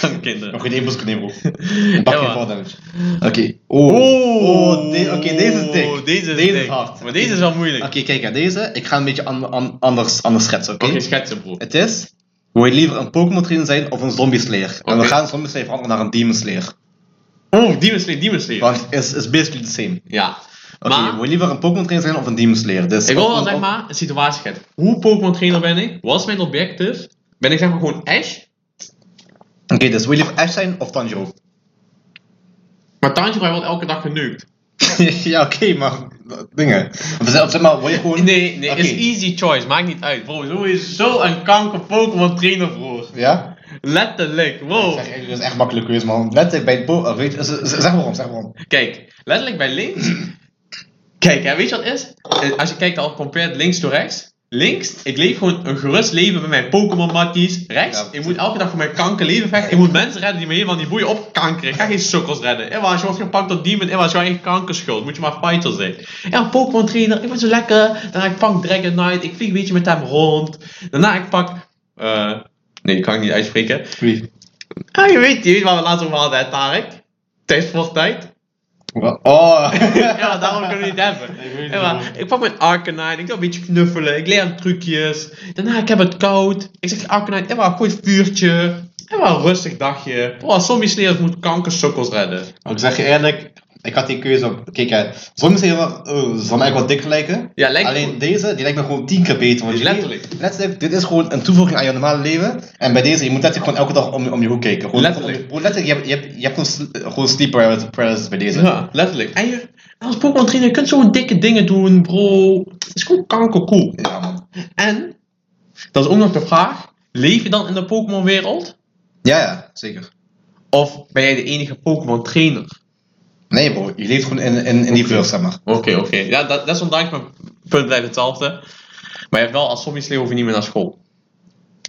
S2: kan kinderen.
S1: Oké, die moest ik [LAUGHS] nemen. Een bakje
S2: Ja,
S1: ja,
S2: man.
S1: damage. Oké. Oh. Oh, de- Oké, deze is dik.
S2: Oh,
S1: Oké,
S2: Deze is,
S1: Deze is
S2: dik.
S1: hard.
S2: Maar deze is wel moeilijk. Oké,
S1: kijk naar deze. Ik ga een beetje an- an- anders, anders schetsen, oké?
S2: schetsen, broer.
S1: Het is... Wil je liever een Pokémon trainer zijn of een zombie slayer? En we
S2: Oké.
S1: gaan zombie slayer veranderen naar een demon slayer.
S2: Oh, Demon Slayer, Demon Slayer.
S1: Want het is, is basically the same.
S2: Ja.
S1: Oké,
S2: Maar-
S1: wil je liever een Pokémon trainer zijn of een demon slayer? Dus
S2: Ik wil wel
S1: of-
S2: zeg
S1: of-
S2: maar een situatie schetsen. Hoe Pokémon trainer ben ik? Wat is mijn objective? Ben ik zeg maar gewoon Ash?
S1: Oké, dus wil je liever Ash zijn of Tanjiro? [LAUGHS]
S2: Maar Tanjiro wordt elke dag geneukt.
S1: ja, oké, maar... Dingen. Of zeg- of zeg maar, wil je gewoon...
S2: Nee, nee,
S1: Oké.
S2: is easy choice. Maakt niet uit, bro. Zo is zo een kanker Pokémon trainer, broer.
S1: Ja?
S2: Letterlijk, wow.
S1: Zeg, dat is echt makkelijk geweest, man. Letterlijk bij het bo... eh, Weet, z- z- zeg waarom, zeg waarom.
S2: Kijk, letterlijk bij links. Kijk, hè, weet je wat het is? Eh, Als je kijkt al compared links to rechts. Links, ik leef gewoon een gerust leven met mijn Pokémon-matties. Rechts,
S1: Ja,
S2: ik moet elke dag voor mijn kanker leven vechten. Ik moet mensen redden die me helemaal niet boeien op kanker. Ik ga geen sukkels redden. Ewa, als je wordt gepakt door demon, Ewa, is jouw eigen kankerschuld. Moet je maar fighter zijn. Ja, Pokémon trainer, ik ben zo lekker. Daarna ik pak Dragon Knight, ik vlieg een beetje met hem rond. Daarna ik pak... eh, nee, die kan ik niet uitspreken.
S1: Wie?
S2: Ja, je weet, je weet waar we laatst over hadden, hè, Tarek. Tijdens Fortnite.
S1: Oh!
S2: [LAUGHS]
S1: [LAUGHS]
S2: Ja, maar daarom kunnen we niet hebben.
S1: Ik weet het
S2: Ja, maar ik pak mijn Arcanine, ik doe een beetje knuffelen, ik leer hem trucjes. Daarna, ik heb het koud. Ik zeg, Arcanine, ja, maar gooi het vuurtje. En wel een rustig dagje. Oh, sommige sneeuwers moeten kankersukkels redden.
S1: Ik zeg je eerlijk, ik had die keuze op. Kijk, hè, soms zijn wel, eh, ze zijn eigenlijk wel dik lijken.
S2: Ja, lijkt
S1: Alleen
S2: goed.
S1: deze, die lijkt me gewoon tien keer beter. Want je-
S2: Letterlijk.
S1: letterlijk, dit is gewoon een toevoeging aan je normale leven. En bij deze, je moet letterlijk gewoon elke dag om, om je hoek kijken. Gewoon,
S2: Letterlijk.
S1: gewoon- gewoon letterlijk, je hebt, je hebt, je hebt gewoon, sl- gewoon sleep paralysis- paralysis bij deze.
S2: Ja, letterlijk. En je, als Pokémon trainer, je kunt zo'n dikke dingen doen, bro. Het is gewoon kankercool.
S1: Ja, man.
S2: En, dat is ook nog de vraag, leef je dan in de Pokémon-wereld?
S1: Ja, ja, zeker.
S2: Of ben jij de enige Pokémon trainer?
S1: Nee, bro, je leeft gewoon in, in, in die verse, zeg maar.
S2: Oké, oké. Ja, dat, dat is ondanks mijn punt blijft hetzelfde. Maar je hebt wel als zombie hoef je niet meer naar school.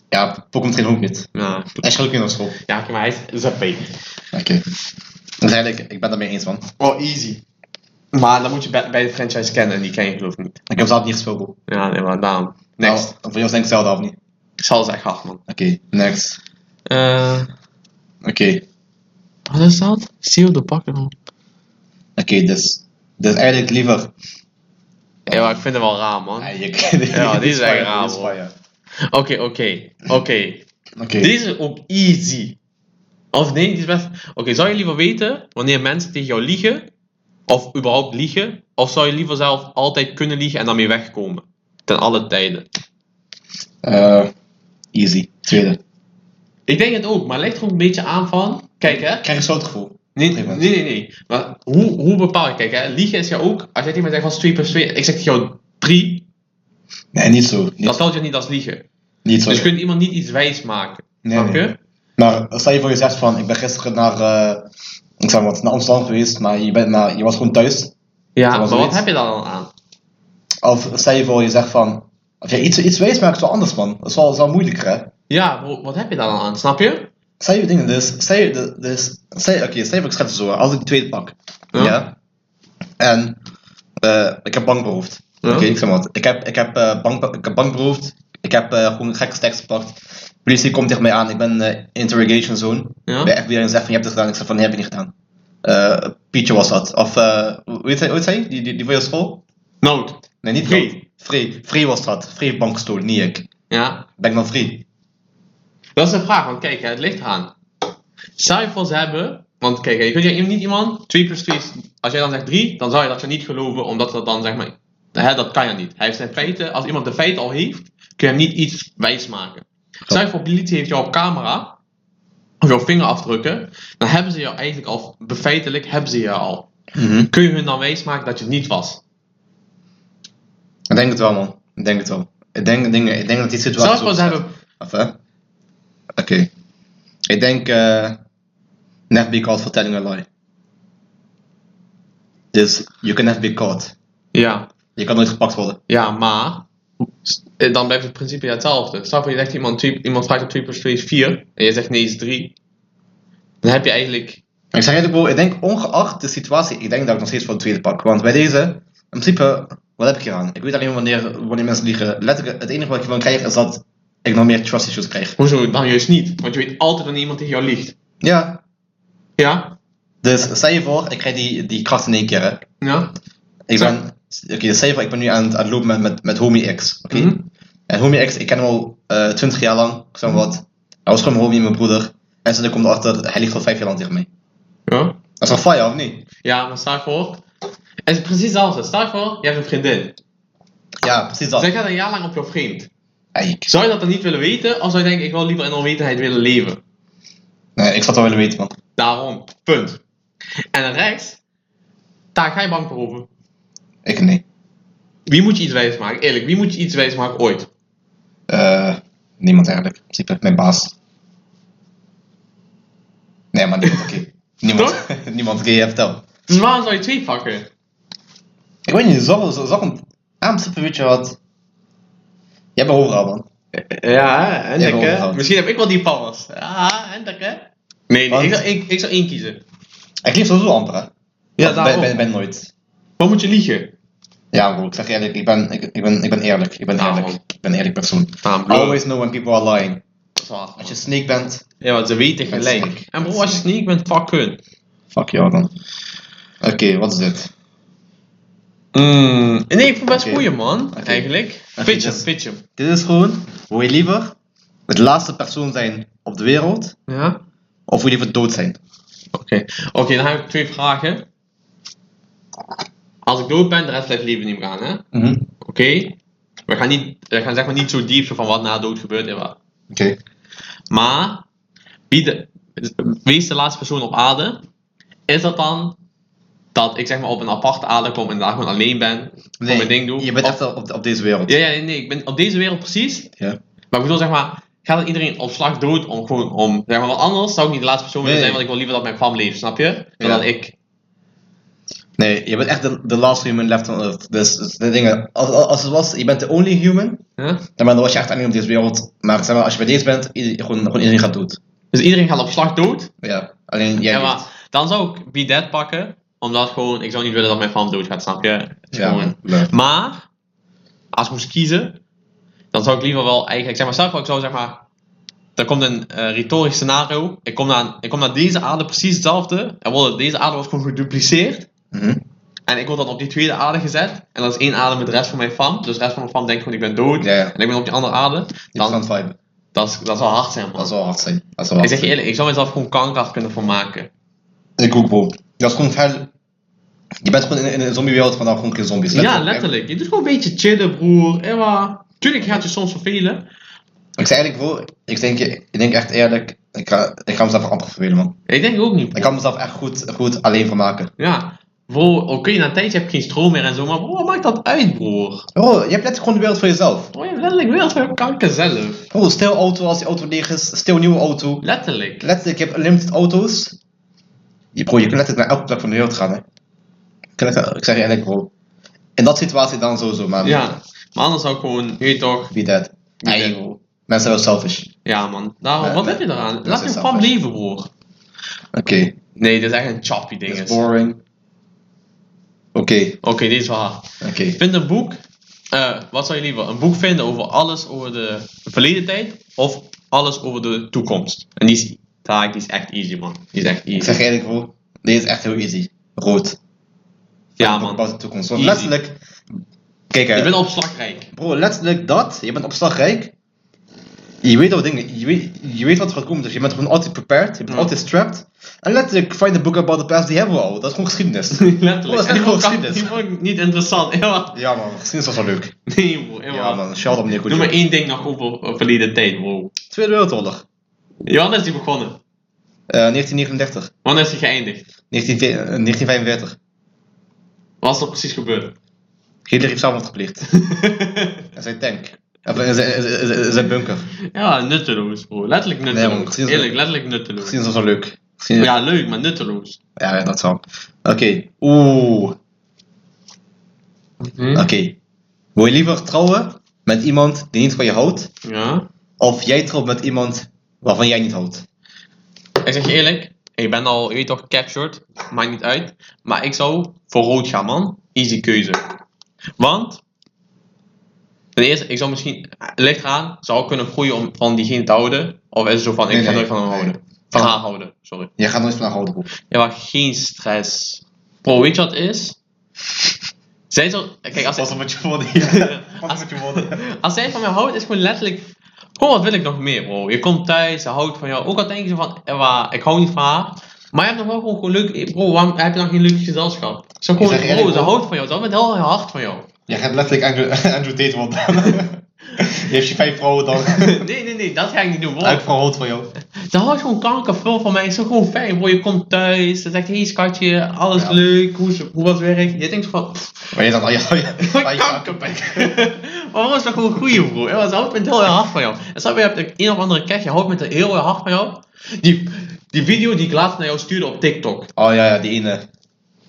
S1: Ja, Pokémon trainen ook niet.
S2: Ja,
S1: Hij is gelukkig nog school.
S2: ja oké, maar hij is zappé.
S1: Oké. Dus eigenlijk, ik ben daarmee eens, man.
S2: Oh, easy. Maar dan moet je bij, bij de franchise kennen en die ken je geloof ik niet.
S1: Ik heb zelf niet gespeeld, bro.
S2: Ja, nee, maar daarom. Next.
S1: Nou, voor jou denk ik zelf of niet. Oké,
S2: Zal is echt hard, man.
S1: next.
S2: Eh,
S1: Oké.
S2: wat is dat? Seal de bakken, man.
S1: Oké, dus, dus eigenlijk liever.
S2: Ja, maar ik vind het wel raar, man. Oké,
S1: Ja, je- [LAUGHS]
S2: Ja, die is eigenlijk raar,
S1: die is
S2: hoor.
S1: fire.
S2: oké, oké.
S1: Oké.
S2: Deze is ook easy. Of nee, die is best. Oké, zou je liever weten wanneer mensen tegen jou liegen? Of überhaupt liegen? Of zou je liever zelf altijd kunnen liegen en daarmee wegkomen? Ten alle tijden.
S1: Eh, easy. Tweede.
S2: Ik denk het ook, maar het ligt er ook een beetje aan van. Kijk hè.
S1: Ik krijg een soort gevoel.
S2: Nee, nee, nee. nee. Maar hoe, hoe bepaal je? Kijk hè, liegen is ja ook. Als jij tegen mij zegt van 2 plus 2, ik zeg tegen jou 3,
S1: Nee, niet zo. Niet,
S2: dat telt je niet als liegen.
S1: niet zo.
S2: Dus je kunt iemand niet iets wijs maken.
S1: Nee,
S2: snap je?
S1: nee. Maar stel je voor je zegt van, ik ben gisteren naar, eh, ik zeg maar wat, naar Amsterdam geweest, maar je, bent, maar je was gewoon thuis.
S2: Ja,
S1: Dat was
S2: maar wat
S1: iets.
S2: heb je daar dan aan?
S1: Of stel je voor je zegt van, of je iets, iets wees maakt, is wel anders man. Dat is wel, dat is wel moeilijker hè.
S2: Ja, bro, wat heb je daar dan aan? Snap je?
S1: Stel je dingen, dus, stel je, de- dus, stel je, oké, stel je voor ik schets het zo, hè. als ik die tweede pak.
S2: Ja.
S1: Ja. En, eh, ik heb bank beroofd.
S2: Ja.
S1: Oké, ik zeg maar wat. Ik heb, ik heb, eh, bank, ik heb bank beroofd. Ik heb eh, gewoon gekke stacks gepakt. Politie komt tegen mij aan. Ik ben eh interrogation zone.
S2: Ja.
S1: Bij FBI en zegt van, je hebt dit gedaan. Ik zeg van, nee, heb ik niet gedaan. Eh Pietje was dat. Of, eh hoe heet hij? hoe heet hij? Die, die, die van jouw school?
S2: Nou,
S1: Nee, niet
S2: Free.
S1: Free. Free. Free was dat. Free heeft bank gestolen, niet ik.
S2: ja,
S1: Ben ik dan Free?
S2: Dat is de vraag, want kijk, hè, het ligt aan. Cijfers hebben, want kijk, hè, je kunt je niet iemand, 2 plus 2 is, als jij dan zegt 3, dan zou je dat je niet geloven, omdat dat dan zeg maar, hè, dat kan je niet. Hij heeft zijn feiten, als iemand de feiten al heeft, kun je hem niet iets wijs maken. Stel je voor, politie heeft jou op camera, of jouw vingerafdrukken, dan hebben ze jou eigenlijk al, befeitelijk hebben ze je al. Kun je hun dan wijsmaken dat je het niet was?
S1: Ik denk het wel, man. Ik denk het wel. Ik denk, denk, ik denk dat die situatie...
S2: Zelfs
S1: zo
S2: als ze
S1: bestaat.
S2: hebben...
S1: Enfin. Oké. Ik denk... eh never be caught for telling a lie. Dus, you can never be caught.
S2: Ja,
S1: Je kan nooit gepakt worden.
S2: ja, maar... s- eh, Dan blijft het principe hetzelfde. Stel voor je zegt iemand, twee- iemand vraagt op 2 plus 2 is 4. En je zegt nee is 3. Dan heb je eigenlijk...
S1: Ik zeg eerlijk, bro, ik denk ongeacht de situatie, ik denk dat ik nog steeds voor de tweede pak. Want bij deze, in principe, wat heb ik hier aan? Ik weet alleen maar wanneer, wanneer mensen liegen. Letterlijk, het enige wat ik van krijg is dat ik nog meer trust issues krijg.
S2: Hoezo dan juist niet? Want je weet altijd wanneer iemand tegen jou liegt.
S1: Ja.
S2: Ja?
S1: Dus stel je voor, ik krijg die, die kracht in één keer. hè.
S2: Ja?
S1: Ik ben, oké, dus stel je voor, ik ben nu aan het, aan het lopen met, met, met Homie X. Oké?
S2: Mhm.
S1: En Homie X, ik ken hem al eh 20 jaar lang, ik zeg maar wat. Hij was gewoon mijn homie, mijn broeder. En toen komt erachter, hij ligt al 5 jaar lang tegen mij.
S2: Ja?
S1: Dat is een fire, of niet?
S2: Ja, maar stel voor. Het is precies hetzelfde. Stel voor, je hebt een vriendin.
S1: Ja, precies dat.
S2: Zij gaat een jaar lang op jou vreemd.
S1: Eik.
S2: Zou je dat dan niet willen weten? Of zou je denken, ik wil liever in onwetendheid willen leven?
S1: Nee, ik zou het wel willen weten, man.
S2: Daarom. Punt. En dan rechts, daar ga je bang voor over.
S1: Ik nee.
S2: Wie moet je iets wijs maken? Eerlijk, wie moet je iets wijs maken ooit?
S1: Eh, niemand eigenlijk. In principe mijn baas. Nee, maar niemand. Oké. Niemand. niemand. Oké, jij vertel.
S2: Dus waarom zou je twee pakken?
S1: Ik weet niet, zag zo, zo, een ah, in principe weet je wat. Jij bent overal, man.
S2: Ja, en
S1: Ja, wel.
S2: Misschien heb ik wel die powers. Ja, en hè? Nee, nee
S1: Want-
S2: ik, zou, ik, ik zou één kiezen.
S1: Ik liep sowieso amper, hè.
S2: Ja,
S1: Of
S2: daarom.
S1: Ben, ben, ben nooit.
S2: Waarom moet je liegen?
S1: Ja, bro, ik zeg je eerlijk, ik ben, ik, ik ben, ik ben eerlijk. Ik ben
S2: Ja,
S1: eerlijk.
S2: man.
S1: Ik ben een eerlijk persoon.
S2: Ah, bro.
S1: Always know when people are lying.
S2: Dat is waar.
S1: Als je sneak bent,
S2: Ja, want ze weten
S1: Met
S2: gelijk.
S1: sneak.
S2: En bro, als je sneak bent, fuck hun.
S1: fuck jou dan. Oké, wat is dit?
S2: Mm, nee, ik vond best
S1: Oké.
S2: goeie man, eigenlijk.
S1: Oké,
S2: Pitch hem,
S1: dus-
S2: pitch hem.
S1: Dit is gewoon, wil je liever het laatste persoon zijn op de wereld,
S2: Ja?
S1: of wil je liever dood zijn?
S2: Oké, Oké, dan heb ik twee vragen. Als ik dood ben, de rest blijft leven niet meer aan, hè? Oké?
S1: Mhm.
S2: We gaan, niet, we gaan zeg maar niet zo diep zo van wat na dood gebeurt en wat.
S1: Oké.
S2: Maar, wie de, wees de laatste persoon op aarde. Is dat dan dat ik zeg maar op een aparte aarde kom en daar gewoon alleen ben? Nee, mijn ding doe?
S1: Je bent
S2: Of-
S1: echt op, op deze wereld.
S2: Ja, ja, nee, ik ben op deze wereld precies
S1: Ja.
S2: Maar ik bedoel, zeg maar, gaat dan iedereen op slag dood om gewoon om. Zeg maar, want anders zou ik niet de laatste persoon willen
S1: Nee.
S2: zijn, want ik wil liever dat mijn kwam leeft, snap je? Dan
S1: Ja.
S2: dat ik.
S1: Nee, je bent echt de, de last human left on earth. Dus, dus de dingen, als, als als het was, je bent de only human,
S2: Hè?
S1: dan, ben- dan was je echt alleen op deze wereld. Maar, zeg maar als je bij deze bent, ieder- gewoon, gewoon iedereen gaat dood.
S2: Dus iedereen gaat op slag dood.
S1: Ja, alleen jij
S2: Ja,
S1: niet.
S2: maar dan zou ik Be Dead pakken, omdat gewoon, ik zou niet willen dat mijn kwam dood gaat, snap je? Het is
S1: Ja,
S2: gewoon-
S1: man. Leuk.
S2: Maar, als ik moest kiezen, dan zou ik liever wel eigenlijk, zeg maar, zelf ik zou zeg maar. Er komt een eh, retorisch scenario. Ik kom, naar, ik kom naar deze aarde precies hetzelfde. En wordt- deze aarde wordt gewoon gedupliceerd.
S1: Mhm.
S2: En ik word dan op die tweede aarde gezet. En dat is één aarde met de rest van mijn fam. Dus de rest van mijn fam denkt gewoon ik ben dood.
S1: Ja, ja.
S2: En ik ben op die andere aarde.
S1: Je
S2: Dan,
S1: verstand vibe.
S2: dat, is, dat zou hard zijn man.
S1: Dat zou hard zijn. Dat zou hard
S2: ik zeg je
S1: zijn.
S2: eerlijk, ik zou mezelf gewoon kanker af kunnen vermaken.
S1: Ik ook, bro. Dat is gewoon ver... Je bent gewoon in, in een zombiewereld van daar gewoon geen zombies.
S2: Ja, letterlijk. Je doet gewoon een beetje chillen broer. Ewa. Tuurlijk gaat je soms vervelen.
S1: Ik, ik zeg eigenlijk, bro, ik denk, je- ik denk echt eerlijk, ik ga, ik ga mezelf amper vervelen, man.
S2: Ik denk ook niet.
S1: Ik kan mezelf echt goed, goed alleen vermaken.
S2: Ja. Bro, oké, na een tijdje heb je geen stroom meer en zo. Maar bro, wat maakt dat uit broer?
S1: Bro, je hebt letterlijk gewoon de wereld voor jezelf.
S2: Bro, je hebt letterlijk wereld van je kanker zelf.
S1: Bro, stil auto als die auto leeg is, stil nieuwe auto.
S2: Letterlijk.
S1: Letterlijk, je hebt limited auto's. Je, bro, je kunt letterlijk naar elke plek van de wereld gaan, hè. Ik kan echt- Ik zeg je eigenlijk, bro. In dat situatie dan sowieso, man.
S2: Ja. Maar anders zou ik gewoon, je weet toch,
S1: Be dead.
S2: Be
S1: Nee,
S2: dead.
S1: bro. Mensen zijn wel selfish.
S2: Ja, man. Daarom,
S1: Nee,
S2: wat
S1: nee.
S2: heb je eraan?
S1: Eh, Dat
S2: Laat je
S1: is
S2: van
S1: zelfs-
S2: leven, broer.
S1: Oké.
S2: Nee, dit is echt een choppy ding.
S1: It's
S2: is. Oké,
S1: boring. Oké,
S2: dit is wel hard.
S1: oké.
S2: Vind een boek. eh, wat zou je liever? Een boek vinden over alles over de verleden tijd of alles over de toekomst? En die is, taak, die is echt easy, man. Die is echt
S1: Ik
S2: easy.
S1: zeg je eigenlijk, bro. Dit is echt heel easy. Rood.
S2: Ja,
S1: Boek
S2: man.
S1: Bouwt de toekomst. Want
S2: Easy.
S1: letterlijk... Kijk, hè.
S2: Je bent opslagrijk.
S1: Bro, letterlijk dat. Je bent op slag rijk. Je weet wat dingen. Je weet, je weet wat er gaat komen. Dus je bent gewoon altijd prepared. Je bent
S2: Ja.
S1: altijd strapped. En letterlijk, find a book about the past. Die hebben we al. Dat is gewoon geschiedenis. [LAUGHS]
S2: [LAUGHS] Letterlijk.
S1: Bro, dat is
S2: En die
S1: echt gewoon
S2: vond ik-
S1: geschiedenis.
S2: die vond ik niet interessant. [LAUGHS] Ja,
S1: Ja man, geschiedenis was wel leuk.
S2: nee, bro.
S1: Ja,
S2: Ja,
S1: man, shout out meneer
S2: Noem maar
S1: Koetje.
S2: één ding nog over eh, verleden tijd, bro.
S1: Tweede Wereldoorlog.
S2: Johannes is die begonnen.
S1: Eh, 1939.
S2: Wanneer is die geëindigd?
S1: 19, eh, 1945.
S2: Wat is er precies gebeurd? [LAUGHS]
S1: Hitler heeft zelfmoord [LAUGHS] gepleegd. En zijn tank. Of in zijn, in zijn- in zijn bunker.
S2: ja, nutteloos, bro. Letterlijk
S1: Nee, maar
S2: nutteloos.
S1: precies-
S2: Eerlijk, letterlijk nutteloos.
S1: Misschien is dat wel leuk. Misschien-
S2: Ja, leuk, maar nutteloos.
S1: ja, dat zal. Oké. Oeh. Oké. Wil je liever trouwen met iemand die niet van je houdt?
S2: Ja.
S1: Of jij trouwt met iemand waarvan jij niet houdt?
S2: Ik zeg je eerlijk, ik ben al, je weet toch, captured. Maakt niet uit. Maar ik zou voor rood gaan, man. Easy keuze. Want, ten eerste, ik zou misschien, licht aan, zou ik kunnen groeien om van diegene te houden. Of is het zo van, ik
S1: Nee,
S2: ga
S1: nee,
S2: nooit van hem
S1: nee.
S2: houden. Van
S1: Ja.
S2: haar houden, sorry.
S1: Jij gaat nooit van haar houden, bro.
S2: Ja, maar geen stress. Bro, weet je wat het is? Zij zou... Kijk, als
S1: Pas
S2: zij,
S1: op met je woorden.
S2: [LAUGHS]
S1: ja. Pas op
S2: Als-
S1: met je woorden.
S2: als zij van mij houdt, is gewoon letterlijk... Bro, wat wil ik nog meer, bro? Je komt thuis, ze houdt van jou. Ook al denk je van, eh, waar, ik hou niet van haar. Maar je hebt nog wel gewoon, gewoon leuk... eh, Bro, waarom heb je dan geen leuk gezelschap? Ze gewoon,
S1: zeg eerlijk,
S2: bro, ze
S1: bro.
S2: houdt van jou. Ze houdt met heel haar
S1: [LAUGHS]
S2: hart van jou.
S1: [LAUGHS] Jij gaat letterlijk Andrew, [LAUGHS] Andrew Tate worden. [LAUGHS] je hebt je vijf vrouwen
S2: [LAUGHS]
S1: dan.
S2: nee, nee, nee, dat ga ik niet doen, bro.
S1: Elk vrouw houdt van jou.
S2: Ze houdt gewoon kankerveel van mij. Het is gewoon fijn, bro. Je komt thuis, ze zegt, hey schatje, alles
S1: Ja.
S2: leuk, hoe, is- hoe was werk? Je denkt van...
S1: Maar je dan oh al
S2: [LAUGHS]
S1: je...
S2: Wat kankerbek. [LAUGHS] maar waarom is dat gewoon een goeie bro? Ja, ze houdt met heel je hart van jou. En snap je, je hebt een- een of andere kerk, je houdt met heel je hart van jou. Die, die video die ik laatst naar jou stuurde op TikTok.
S1: Oh ja, ja, die ene.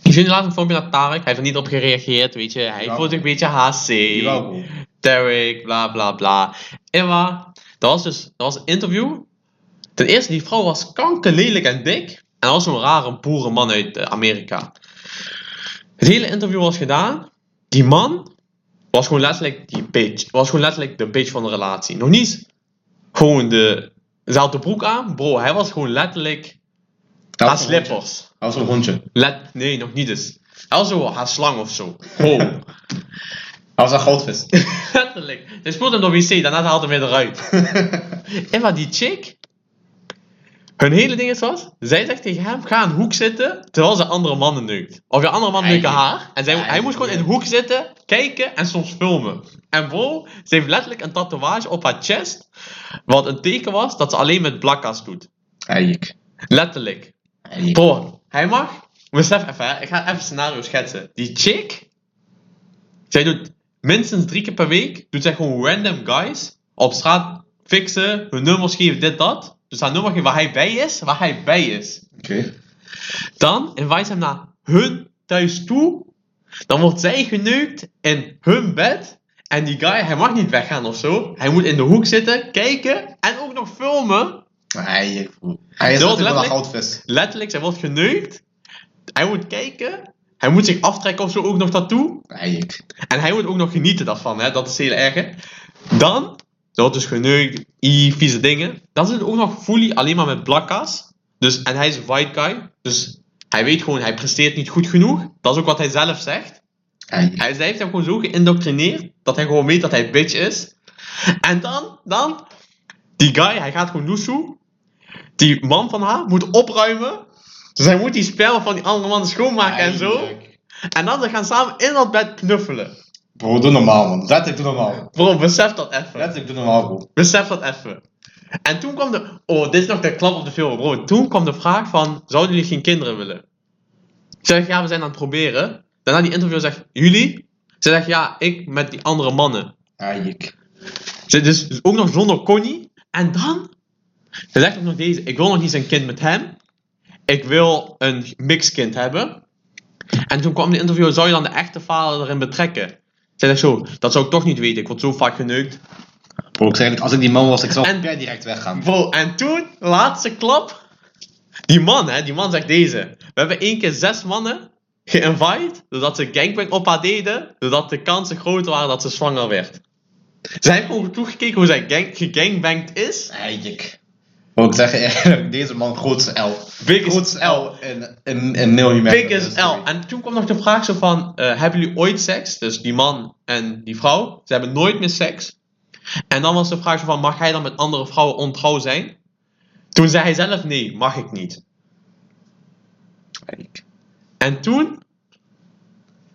S2: Ik stuurde laatst een filmpje naar Tarek, hij heeft er niet op gereageerd, weet je. Hij
S1: Jawel.
S2: voelt zich een beetje HC.
S1: Die wel, bro.
S2: Derek, bla bla bla. Emma, dat was dus dat was een interview. Ten eerste, die vrouw was kankerlelijk en dik. En dat was zo'n rare boerenman uit eh, Amerika. Het hele interview was gedaan. Die man was gewoon letterlijk die bitch. Was gewoon letterlijk de bitch van de relatie. Nog niet gewoon de... Ze had de broek aan. Bro, hij was gewoon letterlijk
S1: Dat
S2: haar
S1: was een hondje.
S2: slippers.
S1: Dat was een hondje.
S2: Let, nee, nog niet eens. Hij was zo haar slang of zo. Bro,
S1: Dat was een goudvis. [LAUGHS]
S2: Letterlijk. Hij spoelt hem door wc, daarna haalt hij hem weer eruit. en wat die chick... Hun hele ding is was, zij zegt tegen hem, ga in een hoek zitten, terwijl ze andere mannen neukt. Of je andere man neukt
S1: Eigenlijk.
S2: haar. En zij, hij moest gewoon in een hoek zitten, kijken en soms filmen. En bro, ze heeft letterlijk een tatoeage op haar chest, wat een teken was dat ze alleen met blakka's doet.
S1: Eik.
S2: Letterlijk.
S1: Eik.
S2: Bro, hij mag. Besef even, hè. ik ga even een scenario schetsen. Die chick, zij doet minstens drie keer per week, doet zij gewoon random guys op straat fixen, hun nummers geven, dit, dat. Dus haar nummer geven waar hij bij is, waar hij bij is.
S1: Oké.
S2: Dan invite ze hem naar hun thuis toe. Dan wordt zij geneukt in hun bed. En die guy, hij mag niet weggaan of zo. Hij moet in de hoek zitten, kijken en ook nog filmen.
S1: Eik, bro. Hij is
S2: Dat
S1: natuurlijk wel
S2: was
S1: een
S2: letterlijk-
S1: goudvis.
S2: Letterlijk, zij wordt geneukt. Hij moet kijken. Hij moet zich aftrekken of zo ook nog daartoe.
S1: Eik.
S2: En hij moet ook nog genieten daarvan, hè? dat is heel erg. Dan, ze wordt dus geneukt, i, vieze dingen. Dan zit het ook nog fully alleen maar met blakka's. Dus, en hij is een white guy. Dus hij weet gewoon, hij presteert niet goed genoeg. Dat is ook wat hij zelf zegt.
S1: Eik.
S2: Hij zij heeft hem gewoon zo geïndoctrineerd dat hij gewoon weet dat hij bitch is. En dan, dan, die guy, hij gaat gewoon loesoe. Die man van haar moet opruimen. Dus hij moet die spel van die andere man schoonmaken en zo. En dan ze gaan samen in dat bed knuffelen.
S1: Bro, doe normaal, man. Letterlijk, doe normaal.
S2: Bro, besef dat even.
S1: Letterlijk, doe normaal, bro.
S2: Besef dat even. En toen kwam de. Oh, dit is nog de klap op de film, bro. Toen kwam de vraag van: zouden jullie geen kinderen willen? Ik zeg ja, we zijn aan het proberen. Daarna die interview zegt: jullie? Ze zegt ja, ik met die andere mannen.
S1: Eik.
S2: Ze dus ook nog zonder Connie. En dan. Ze zegt ook nog deze: Ik wil nog niet een kind met hem. Ik wil een mixkind hebben. En toen kwam de interview: Zou je dan de echte vader erin betrekken? Ze zegt zo: Dat zou ik toch niet weten. Ik word zo vaak geneukt.
S1: Bro, ik zeg eigenlijk, als ik die man was, ik zou
S2: En-
S1: per direct weggaan.
S2: Bro, en toen, laatste klap. Die man, hè, die man zegt deze. We hebben één keer zes mannen geïnvite, doordat ze gangbang op haar deden, doordat de kansen groot waren dat ze zwanger werd. Zij heeft gewoon toegekeken hoe zij gang, gegangbangd is.
S1: Eik. Bro, ik zeg je eerlijk, [LAUGHS] deze man, grootste L.
S2: Biggest
S1: Grootste L in, in, in miljoen
S2: Biggest L. En toen kwam nog de vraag zo van, eh, hebben jullie ooit seks? Dus die man en die vrouw, ze hebben nooit meer seks. En dan was de vraag zo van, mag hij dan met andere vrouwen ontrouw zijn? Toen zei hij zelf, nee, mag ik niet.
S1: Eik.
S2: En toen...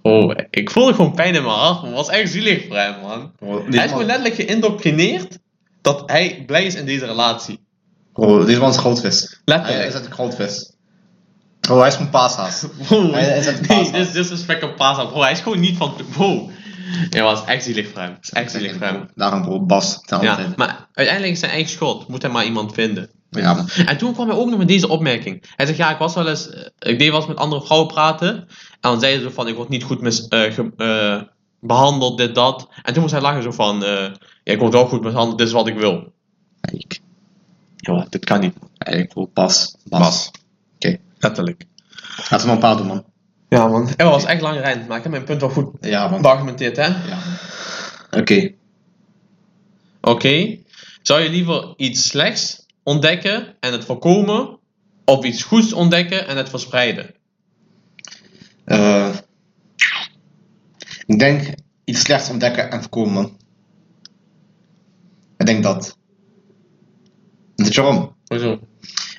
S2: Oh, ik voelde gewoon pijn in mijn hart, man. Het was echt zielig voor hem, man.
S1: Bro,
S2: Hij
S1: deze
S2: is gewoon
S1: man-
S2: letterlijk geïndoctrineerd dat hij blij is in deze relatie.
S1: Bro, deze man is goudvis.
S2: Letterlijk.
S1: Hij is echt een goudvis. Bro, hij is gewoon paashaas.
S2: Wow,
S1: Hij is echt een
S2: nee,
S1: paashaas.
S2: dit is disrespect op Pasa. Bro, hij is gewoon niet van... Wow. Ja, was echt zielig voor hem. Het is echt zielig voor hem.
S1: Daarom bro, Bas. ten andere
S2: Ja,
S1: tijd.
S2: maar uiteindelijk is zijn eigen schuld. Moet hij maar iemand vinden.
S1: Ja, man.
S2: En toen kwam hij ook nog met deze opmerking. Hij zegt, ja, ik was wel eens... eh, Ik deed wel eens met andere vrouwen praten. En dan zei ze zo van, ik word niet goed mis, eh, ge- eh, behandeld, dit, dat. En toen moest hij lachen zo van, eh, ja, ik word wel goed behandeld, dit is wat ik wil.
S1: Eik.
S2: Ja, dit kan niet.
S1: Eik, bro, Bas. Bas. Oké.
S2: Letterlijk.
S1: Laten we maar een paar doen, man.
S2: Ja, man. Het was echt lang rijden, maar ik heb mijn punt wel goed
S1: Ja, man.
S2: beargumenteerd, hè.
S1: Ja. Oké.
S2: Oké. Zou je liever iets slechts ontdekken en het voorkomen, of iets goeds ontdekken en het verspreiden?
S1: Eh, ik denk iets slechts ontdekken en voorkomen, man. Ik denk dat. Weet je waarom?
S2: Hoezo?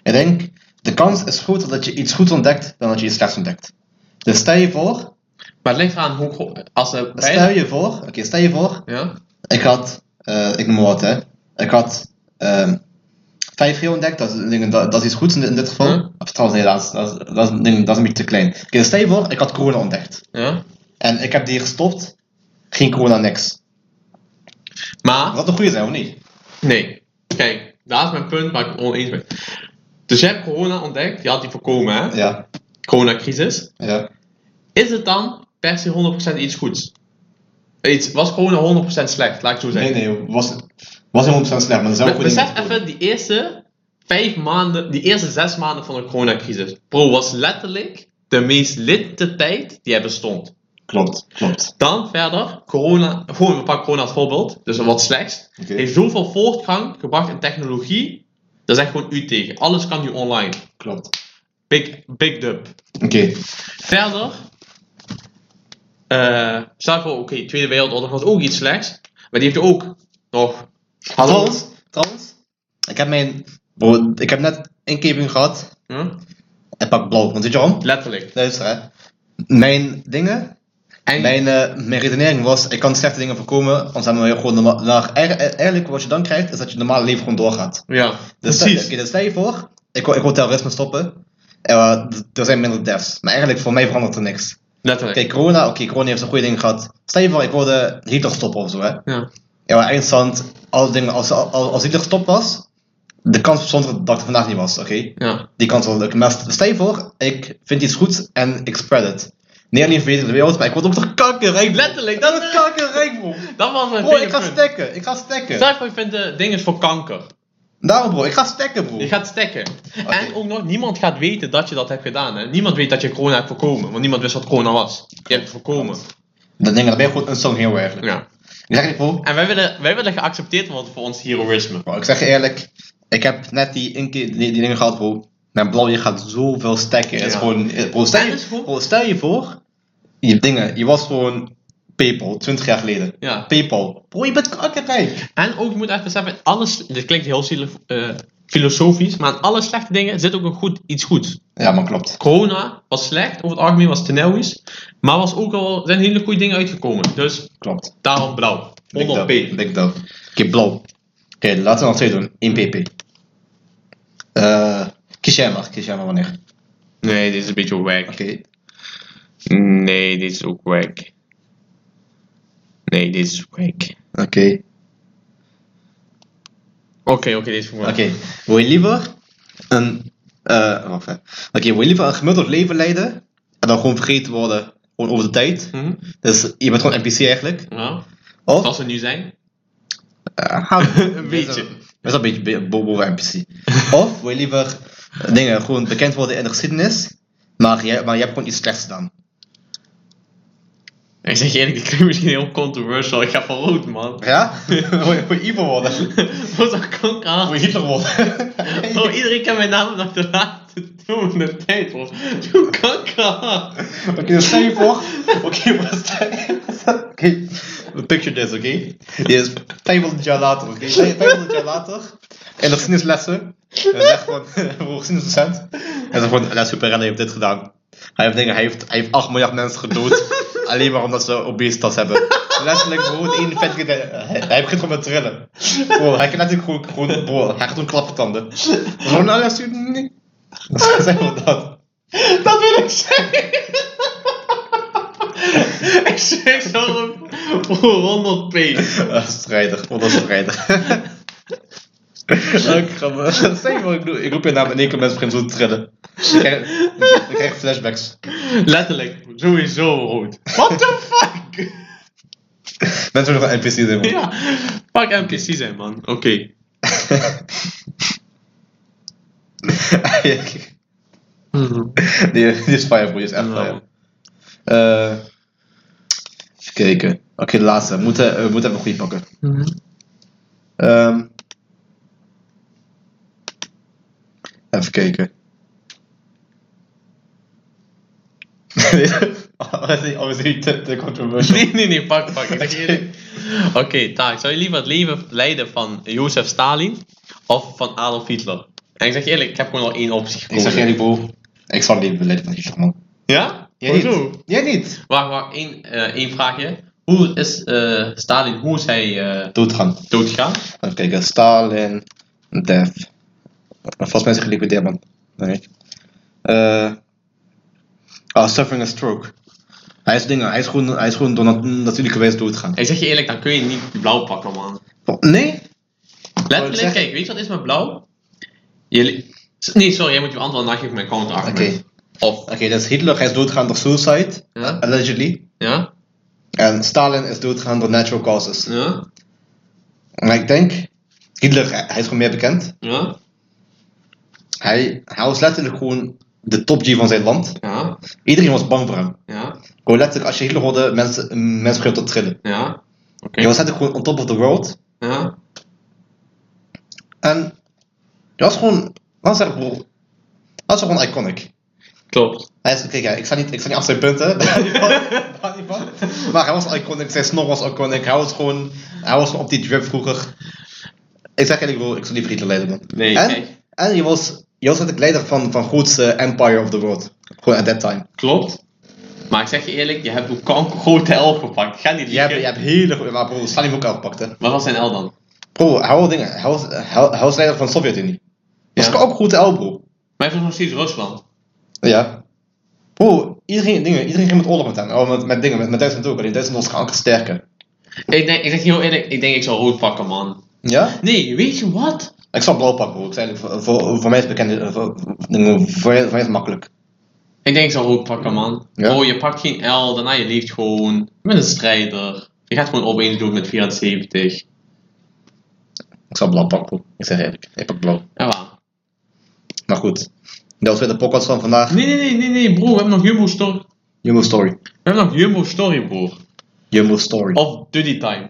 S1: Ik denk, de kans is groter dat je iets goed ontdekt dan dat je iets slechts ontdekt. Dus stel je voor, dus
S2: Maar het ligt eraan hoe... gro- Als er
S1: stel
S2: beide...
S1: je voor, oké, stel je voor,
S2: Ja?
S1: ik had, eh, ik noem maar wat hè, ik had ehm 5G ontdekt, dat is, een ding- dat, dat is iets goeds in, dit- in dit geval.
S2: Ja.
S1: Of trouwens, nee, dat is, dat, is, dat, is een ding- dat is een beetje te klein. Oké, dus stel je voor, ik had corona ontdekt.
S2: Ja?
S1: En ik heb die gestopt, geen corona, niks.
S2: Maar...
S1: Wat een goede zijn, of niet?
S2: Nee. Kijk, daar is mijn punt waar ik het oneens ben. Dus je hebt corona ontdekt, je had die voorkomen, hè?
S1: Ja,
S2: Coronacrisis.
S1: ja.
S2: Is het dan per se 100% iets goeds? Iets, was corona 100% slecht, laat ik het zo
S1: Nee,
S2: zeggen.
S1: nee, was, was 100% slecht, maar er zijn ook
S2: Be-
S1: goede
S2: Besef
S1: dingen voor.
S2: even die eerste vijf maanden, die eerste zes maanden van de coronacrisis. Pro was letterlijk de meest litte tijd die er bestond.
S1: Klopt, klopt.
S2: Dan verder, corona, gewoon we pakken corona als voorbeeld, dus wat slechts,
S1: Oké.
S2: heeft zoveel voortgang gebracht in technologie, daar zegt gewoon u tegen. Alles kan nu online.
S1: Klopt.
S2: Big, big dub.
S1: Oké,
S2: Verder, eh stel voor, oké, Tweede Wereldoorlog was ook iets slechts, maar die heeft ook nog.
S1: Trouwens, trouwens, ik heb mijn. Bro, ik heb net inkeping gehad.
S2: Hm?
S1: En pak blauw, want weet je waarom?
S2: Letterlijk.
S1: Luister, hè. Mijn dingen,
S2: En,
S1: mijn, eh, mijn redenering was: ik kan slechte dingen voorkomen, anders hebben we gewoon normaal. naar- eigen- Eigenlijk, wat je dan krijgt, is dat je normale leven gewoon doorgaat. [LAUGHS]
S2: ja,
S1: Dus
S2: precies.
S1: Oké, dus stel je voor, ik wil, ik wil terrorisme stoppen. Eh, d- er zijn minder deaths. Maar eigenlijk, voor mij verandert er niks.
S2: Letterlijk.
S1: Kijk, corona, oké, corona heeft zijn goede dingen gehad. Stel je voor, ik wilde Hitler stoppen of zo, hè.
S2: Ja.
S1: Ja, maar eindstand, alle dingen, als, als, als Hitler gestopt was, de kans bestond er dat ik er vandaag niet was, oké?
S2: Ja.
S1: Die kans was lukken. Maar stel je voor, ik vind iets goeds en ik spread het. Niet alleen voor de wereld, maar ik word ook toch kankerrijk,
S2: Letterlijk,
S1: Dat
S2: dat,
S1: is kankerrijk, bro.
S2: dat was mijn
S1: Bro, Eh, ik ga
S2: stekken.
S1: stekken, ik ga stekken.
S2: Stel voor, je vindt de dingen voor kanker.
S1: Daarom, bro, ik ga stekken, bro.
S2: Je gaat stekken.
S1: Oké.
S2: En ook nog, niemand gaat weten dat je dat hebt gedaan. Hè? Niemand weet dat je corona hebt voorkomen, want niemand wist wat corona was. Je hebt het voorkomen.
S1: Dat ding, dat ben je gewoon een song heel eigenlijk.
S2: Ja.
S1: Ik zeg je, bro,
S2: En wij willen, wij willen geaccepteerd worden voor ons heroïsme.
S1: bro, ik zeg je eerlijk, ik heb net die, inke- die, die dingen gehad, bro. Mijn blauw, je gaat zoveel stekken. Het is
S2: Ja.
S1: gewoon, eh, bro, stel
S2: En
S1: je,
S2: het is gewoon-
S1: bro, stel je voor, je dingen, je was gewoon Paypal, 20 jaar geleden.
S2: Ja.
S1: Paypal. Bro, je bent kankerrijk.
S2: En ook, je moet even beseffen, alles, dit klinkt heel zielig, eh, filosofisch, maar aan alle slechte dingen zit ook een goed, iets goeds.
S1: Ja, maar klopt.
S2: Corona was slecht, over het algemeen was het tenelwies, maar was ook al, zijn hele goede dingen uitgekomen. Dus
S1: Klopt.
S2: daarom blauw.
S1: Big
S2: 100
S1: dub.
S2: p.
S1: Big dub. Oké, blauw. Oké, laten we nog twee doen. 1 pp. Eh, kies jij maar. Kies jij maar wanneer. Oké.
S2: Nee, dit is een beetje wack. Nee, dit is ook wack. Nee, dit is wack.
S1: Oké.
S2: Oké, oké, dit is voor
S1: Oké.
S2: mij.
S1: Wil je liever een... eh, wacht even. Oké, wil je liever een gemiddeld leven leiden en dan gewoon vergeten worden gewoon over de tijd?
S2: Hm?
S1: Dus je bent gewoon NPC eigenlijk.
S2: Nou,
S1: Of...
S2: zoals we nu zijn.
S1: Eh, hou- [LAUGHS]
S2: Een beetje.
S1: Dat is wel een beetje be- bo- boven NPC. [LAUGHS] Of wil je liever eh, dingen gewoon bekend worden in de geschiedenis, maar je, maar je hebt gewoon iets slechts gedaan.
S2: Ik zeg je eerlijk, [LAUGHS] dit klinkt misschien heel controversial. Ik ga voor rood, man. [LAUGHS]
S1: [LAUGHS] Ja? Voor Ivo worden.
S2: Wat een kanker.
S1: Voor Hitler [LAUGHS] worden.
S2: Oh, iedereen kan mijn naam nog de laatste doen. De tijd was. Doe
S1: [LAUGHS]
S2: kanker.
S1: Oké, okay, stel je voor. [LAUGHS] Oké, maar stel je Oké, picture this, oké? Die is 500 jaar later, oké? 500 jaar later. En [LAUGHS] dat is lessen. En zeg gewoon, voor geschiedenisdocent. En zeg gewoon, La Superella heeft dit gedaan. Hij heeft, dingen, hij, heeft, hij heeft 8 miljard mensen [LAUGHS] gedood. alleen maar omdat ze obesitas hebben. Letterlijk gewoon één vet. Hij, hij begint gewoon met trillen. Bro, hij kan natuurlijk gewoon. gewoon bro, hij gaat gewoon [LAUGHS] klappertanden. Gewoon alles. Nee. [LAUGHS] Dat is echt wel dat.
S2: Dat wil ik zeggen. [LAUGHS] ik zeg
S1: [LAUGHS]
S2: zo voor 100 p.
S1: Ah, strijdig, oh, dat is strijdig. Ik ga me- Stel je voor, ik, doe, ik roep je naam en in één keer mensen beginnen zo te trillen. Ik krijg, ik krijg flashbacks.
S2: Letterlijk, sowieso rood. What the fuck? [LAUGHS]
S1: Mensen willen gewoon NPC's in. [LAUGHS]
S2: ja, pak NPC zijn man. Oké.
S1: Ah, Mhm. Die, die is fire, bro. Die is echt
S2: Nou.
S1: fire. Eh, even kijken. Oké, de laatste. We moeten, we moeten even goed pakken.
S2: Mhm.
S1: Ehm, even kijken. [LAUGHS] Oh, is niet te, te controversial.
S2: [LAUGHS] Nee, nee, nee, pak, pak. Ik zeg eerlijk. Oké, taak. Zou je liever het leven leiden van Jozef Stalin of van Adolf Hitler? En ik zeg je eerlijk, ik heb gewoon al één optie
S1: Ik
S2: gekozen.
S1: zeg eerlijk, bro. Ik zal niet beleiden van Hitler, man.
S2: Ja?
S1: Jij
S2: Hoezo?
S1: niet. Jij niet.
S2: Wacht, wacht, één, eh, één vraagje. Hoe is eh, Stalin, hoe is hij eh
S1: Doodgaan.
S2: doodgegaan?
S1: Even kijken. Stalin. Death. Volgens mij is hij geliquideerd, man. Nee. Eh ah, suffering a stroke. Hij is dingen. Hij is gewoon, hij is gewoon door nat- natuurlijke wijze doodgaan. Oh,
S2: Ik zeg je eerlijk, dan kun je niet blauw pakken, man.
S1: Nee?
S2: Letterlijk,
S1: zeggen?
S2: kijk, weet je wat is met blauw? Je li- nee, sorry, jij moet je antwoord en dan geef ik mijn counterargument.
S1: Oké.
S2: Of,
S1: Oké, dus Hitler hij is doodgaan door suicide.
S2: ja?
S1: Allegedly.
S2: Ja?
S1: En Stalin is doodgaan door natural causes.
S2: Ja?
S1: Maar ik denk. Hitler, hij hij is gewoon meer bekend.
S2: Ja?
S1: Hij, hij was letterlijk gewoon de top G van zijn land.
S2: Ja?
S1: Iedereen was bang voor hem.
S2: Ja?
S1: Gewoon letterlijk, als je Hitler hoorde, mensen, mensen begonnen te trillen.
S2: Ja? Oké.
S1: Hij was letterlijk gewoon on top of the world.
S2: Ja?
S1: En hij was gewoon, laat zeggen bro, hij was gewoon iconic.
S2: Klopt.
S1: Hij is, kijk, ja, ik sta niet, ik sta niet af zijn punten, [LAUGHS] daar hou ik van, daar hou ik van. Maar hij was iconic, zijn snor was iconic, hij was gewoon, hij was gewoon op die drip vroeger. Ik zeg eerlijk bro, ik zou liever Hitler leiden man.
S2: Nee,
S1: En,
S2: kijk.
S1: en je was, je was letterlijk leider van, van grootste empire of the world. Gewoon at that time.
S2: Klopt. Maar ik zeg je eerlijk, je hebt een kanker grote elf gepakt. Ga niet
S1: Je hebt,
S2: liegen.
S1: je hebt hele goede, maar bro, Stalin ook uitpakte.
S2: Wat was zijn L dan?
S1: Bro, hij was dingen. Hij was, hij, hij was leider van de Sovjet-Unie. Dat
S2: Ja.
S1: is ook goed L, bro.
S2: Maar hij was nog steeds Rusland.
S1: Ja. Bro, iedereen, dingen, iedereen ging met oorlog met hem. Oh, met, met dingen, met, met Duitsland ook. Alleen Duitsland was geankerd sterker.
S2: Ik, denk, ik zeg je heel eerlijk, ik denk ik zou rood pakken, man.
S1: Ja?
S2: Nee, weet je wat?
S1: Ik zal blauw pakken, bro. Ik zei, voor, voor, voor mij is het bekend. eh, Voor, dingen, voor, voor mij is het makkelijk.
S2: Ik denk ik zou rood pakken, man.
S1: Ja?
S2: Oh, je pakt geen L, daarna je leeft gewoon. Je bent een strijder. Je gaat gewoon opeens doen met 74.
S1: Ik zal blauw pakken, bro. Ik zeg eerlijk. Ik pak blauw.
S2: Ja, waar?
S1: Maar goed. Dat was weer de podcast van vandaag.
S2: Nee, nee, nee, nee, nee, bro. We hebben nog Jumbo Story.
S1: Jumbo Story.
S2: We hebben nog Jumbo Story, bro.
S1: Jumbo Story.
S2: Of Duddy Time.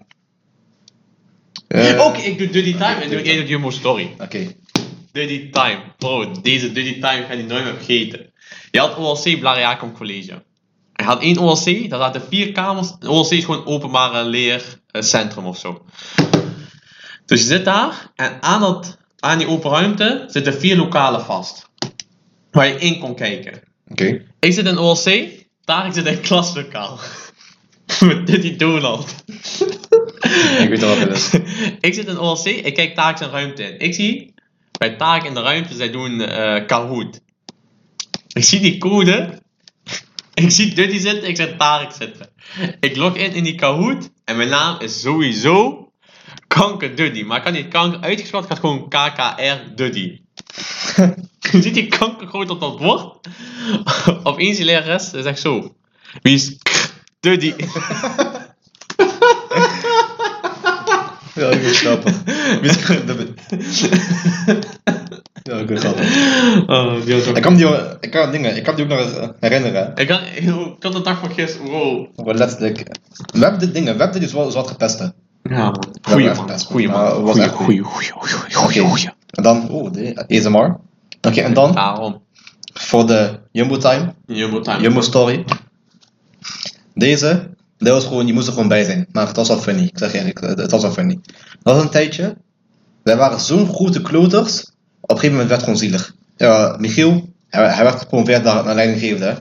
S1: Eh,
S2: Ook ik doe Duddy Time en doe jij doet Jumbo Story.
S1: Oké.
S2: Duddy Time. Bro, deze Duddy Time ga je nooit meer vergeten. Je had OLC Blariacum College. Hij had één OLC, daar zaten vier kamers. Een OLC is gewoon een openbare leercentrum of zo. Dus je zit daar en aan, dat, aan die open ruimte zitten vier lokalen vast. Waar je in kon kijken.
S1: Oké. [LAUGHS]
S2: Ik zit in OLC, daar zit een klaslokaal. [LAUGHS] Met Duddy Donald.
S1: Ik weet al wat het is.
S2: [LAUGHS] ik zit in OLC, ik kijk taak en ruimte in. Ik zie bij taak in de ruimte, zij doen eh Kahoot. Ik zie die code. [LAUGHS] Ik zie Duddy zitten, ik zet Tarek zitten. Ik log in in die Kahoot en mijn naam is sowieso Kanker Duddy. Maar ik had niet kanker uitgespeeld, ik had gewoon KKR Duddy. [LAUGHS] Je ziet die kanker groot op dat bord. Opeens die lerares ze zegt zo. Wie is [LAUGHS] Duddy?
S1: Ja, ik weet grappig. Ja, ik weet grappig.
S2: [LAUGHS] Oh, die was ook-
S1: Ik kan, die, ik kan dingen, ik kan die ook nog eens herinneren.
S2: Ik kan, ik kan de dag van gisteren, wow.
S1: Gewoon letterlijk. We hebben dit dingen, we hebben dit dus wel wat gepest. hè.
S2: Ja, man.
S1: Goeie
S2: Goeie
S1: man,
S2: man.
S1: goeie
S2: Goeie
S1: man.
S2: man.
S1: Goeie,
S2: Goeie, goeie, goeie, goeie, goeie,
S1: Oké.
S2: goeie.
S1: En dan, oeh, de ASMR. Oké, en dan
S2: Daarom.
S1: voor de Jumbo Time,
S2: Jumbo time.
S1: Jumbo Story. Deze, dit was gewoon, je moest er gewoon bij zijn. Maar het was wel funny, ik zeg je eerlijk, het het was wel funny. Dat was een tijdje. Wij waren zo'n grote kloters, op een gegeven moment werd het gewoon zielig. Ja, Michiel, Hij, hij werd gepromoveerd naar, naar leidinggevende.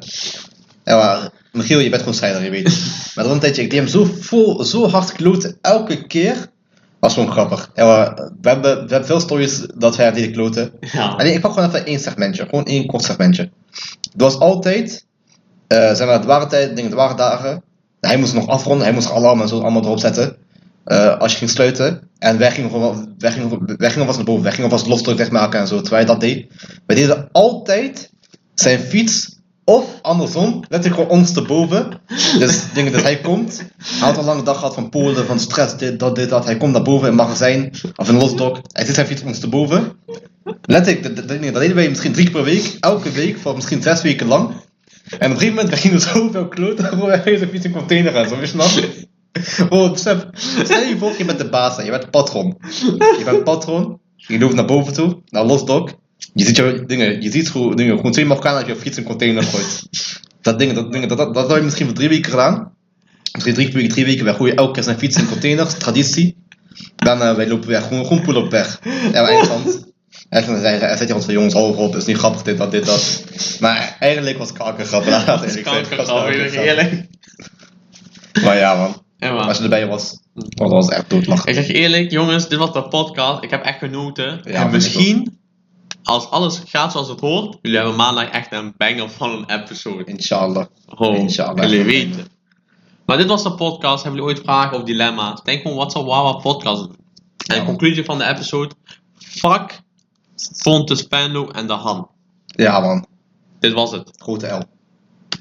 S1: Ja, maar Michiel, je bent gewoon strijder, je weet. het. Maar dan tijdje, ik deed hem zo, vol, zo hard kloten elke keer. Was gewoon grappig. Ja, maar we, hebben, we hebben veel stories dat hij deed kloten.
S2: Ja.
S1: Alleen, ik pak gewoon even één segmentje. Gewoon één kort segmentje. Het was altijd, eh zeg maar, het waren tijd, dingen, het waren dagen. Hij moest nog afronden, hij moest alarm en zo allemaal erop zetten. Eh, als je ging sluiten. En wij gingen gewoon wij gingen, wij gingen alvast naar boven, wij gingen alvast losdruk wegmaken en zo. Terwijl hij dat deed. Wij deden altijd zijn fiets of andersom, letterlijk gewoon ons te boven. Dus dingen dat hij komt. Hij had al een lange dag gehad van Polen, van stress, dit, dat, dit, dat. Hij komt naar boven in een magazijn of in een losdok. Hij zit zijn fiets ons te boven. Letterlijk, dat, dat, dat deden wij misschien drie keer per week, elke week, voor misschien zes weken lang. En op een gegeven moment, we gingen [LAUGHS] zoveel kloten, gewoon wij gingen de fiets in container en zo, weet je nog? Wow, besef, stel je voor, je bent de baas, hè, je bent patron. Je bent patron, je loopt naar boven toe, naar Losdok. Je ziet, jou, dingen, je ziet hoe dingen, gewoon twee Marokkanen uit je fiets in container gooit. Dat ding, dat ding, dat, dat, dat had je misschien voor drie weken gedaan. Misschien drie weken, drie weken, wij gooien elke keer zijn fiets in containers, traditie. Dan eh, wij lopen weg, gewoon, gewoon poel op weg. En wij eindstand. Echt, dan zei hij zet je ons van jongens over op, is niet grappig dit, dat, dit, dat. Maar eigenlijk was het kankergrappig. laat
S2: Dat is
S1: eerlijk zijn.
S2: kankergrap,
S1: Het was kankergrap.
S2: eerlijk.
S1: Maar ja man,
S2: Ja,
S1: als
S2: man.
S1: je erbij was, dat was echt doodlachen.
S2: Ik zeg je eerlijk, jongens, dit was de podcast. Ik heb echt genoten. en
S1: ik
S2: misschien, als alles gaat zoals het hoort, jullie hebben maandag echt een banger van een episode.
S1: Inshallah.
S2: Gewoon,
S1: Inshallah.
S2: jullie weten. Maar dit was de podcast. Hebben jullie ooit vragen of dilemma's? Denk gewoon, wat zou Wawa podcast doen?
S1: Ja.
S2: En de conclusie van de episode. Fuck Fontes Pendo en de Han.
S1: Ja man,
S2: Dit was het.
S1: grote L.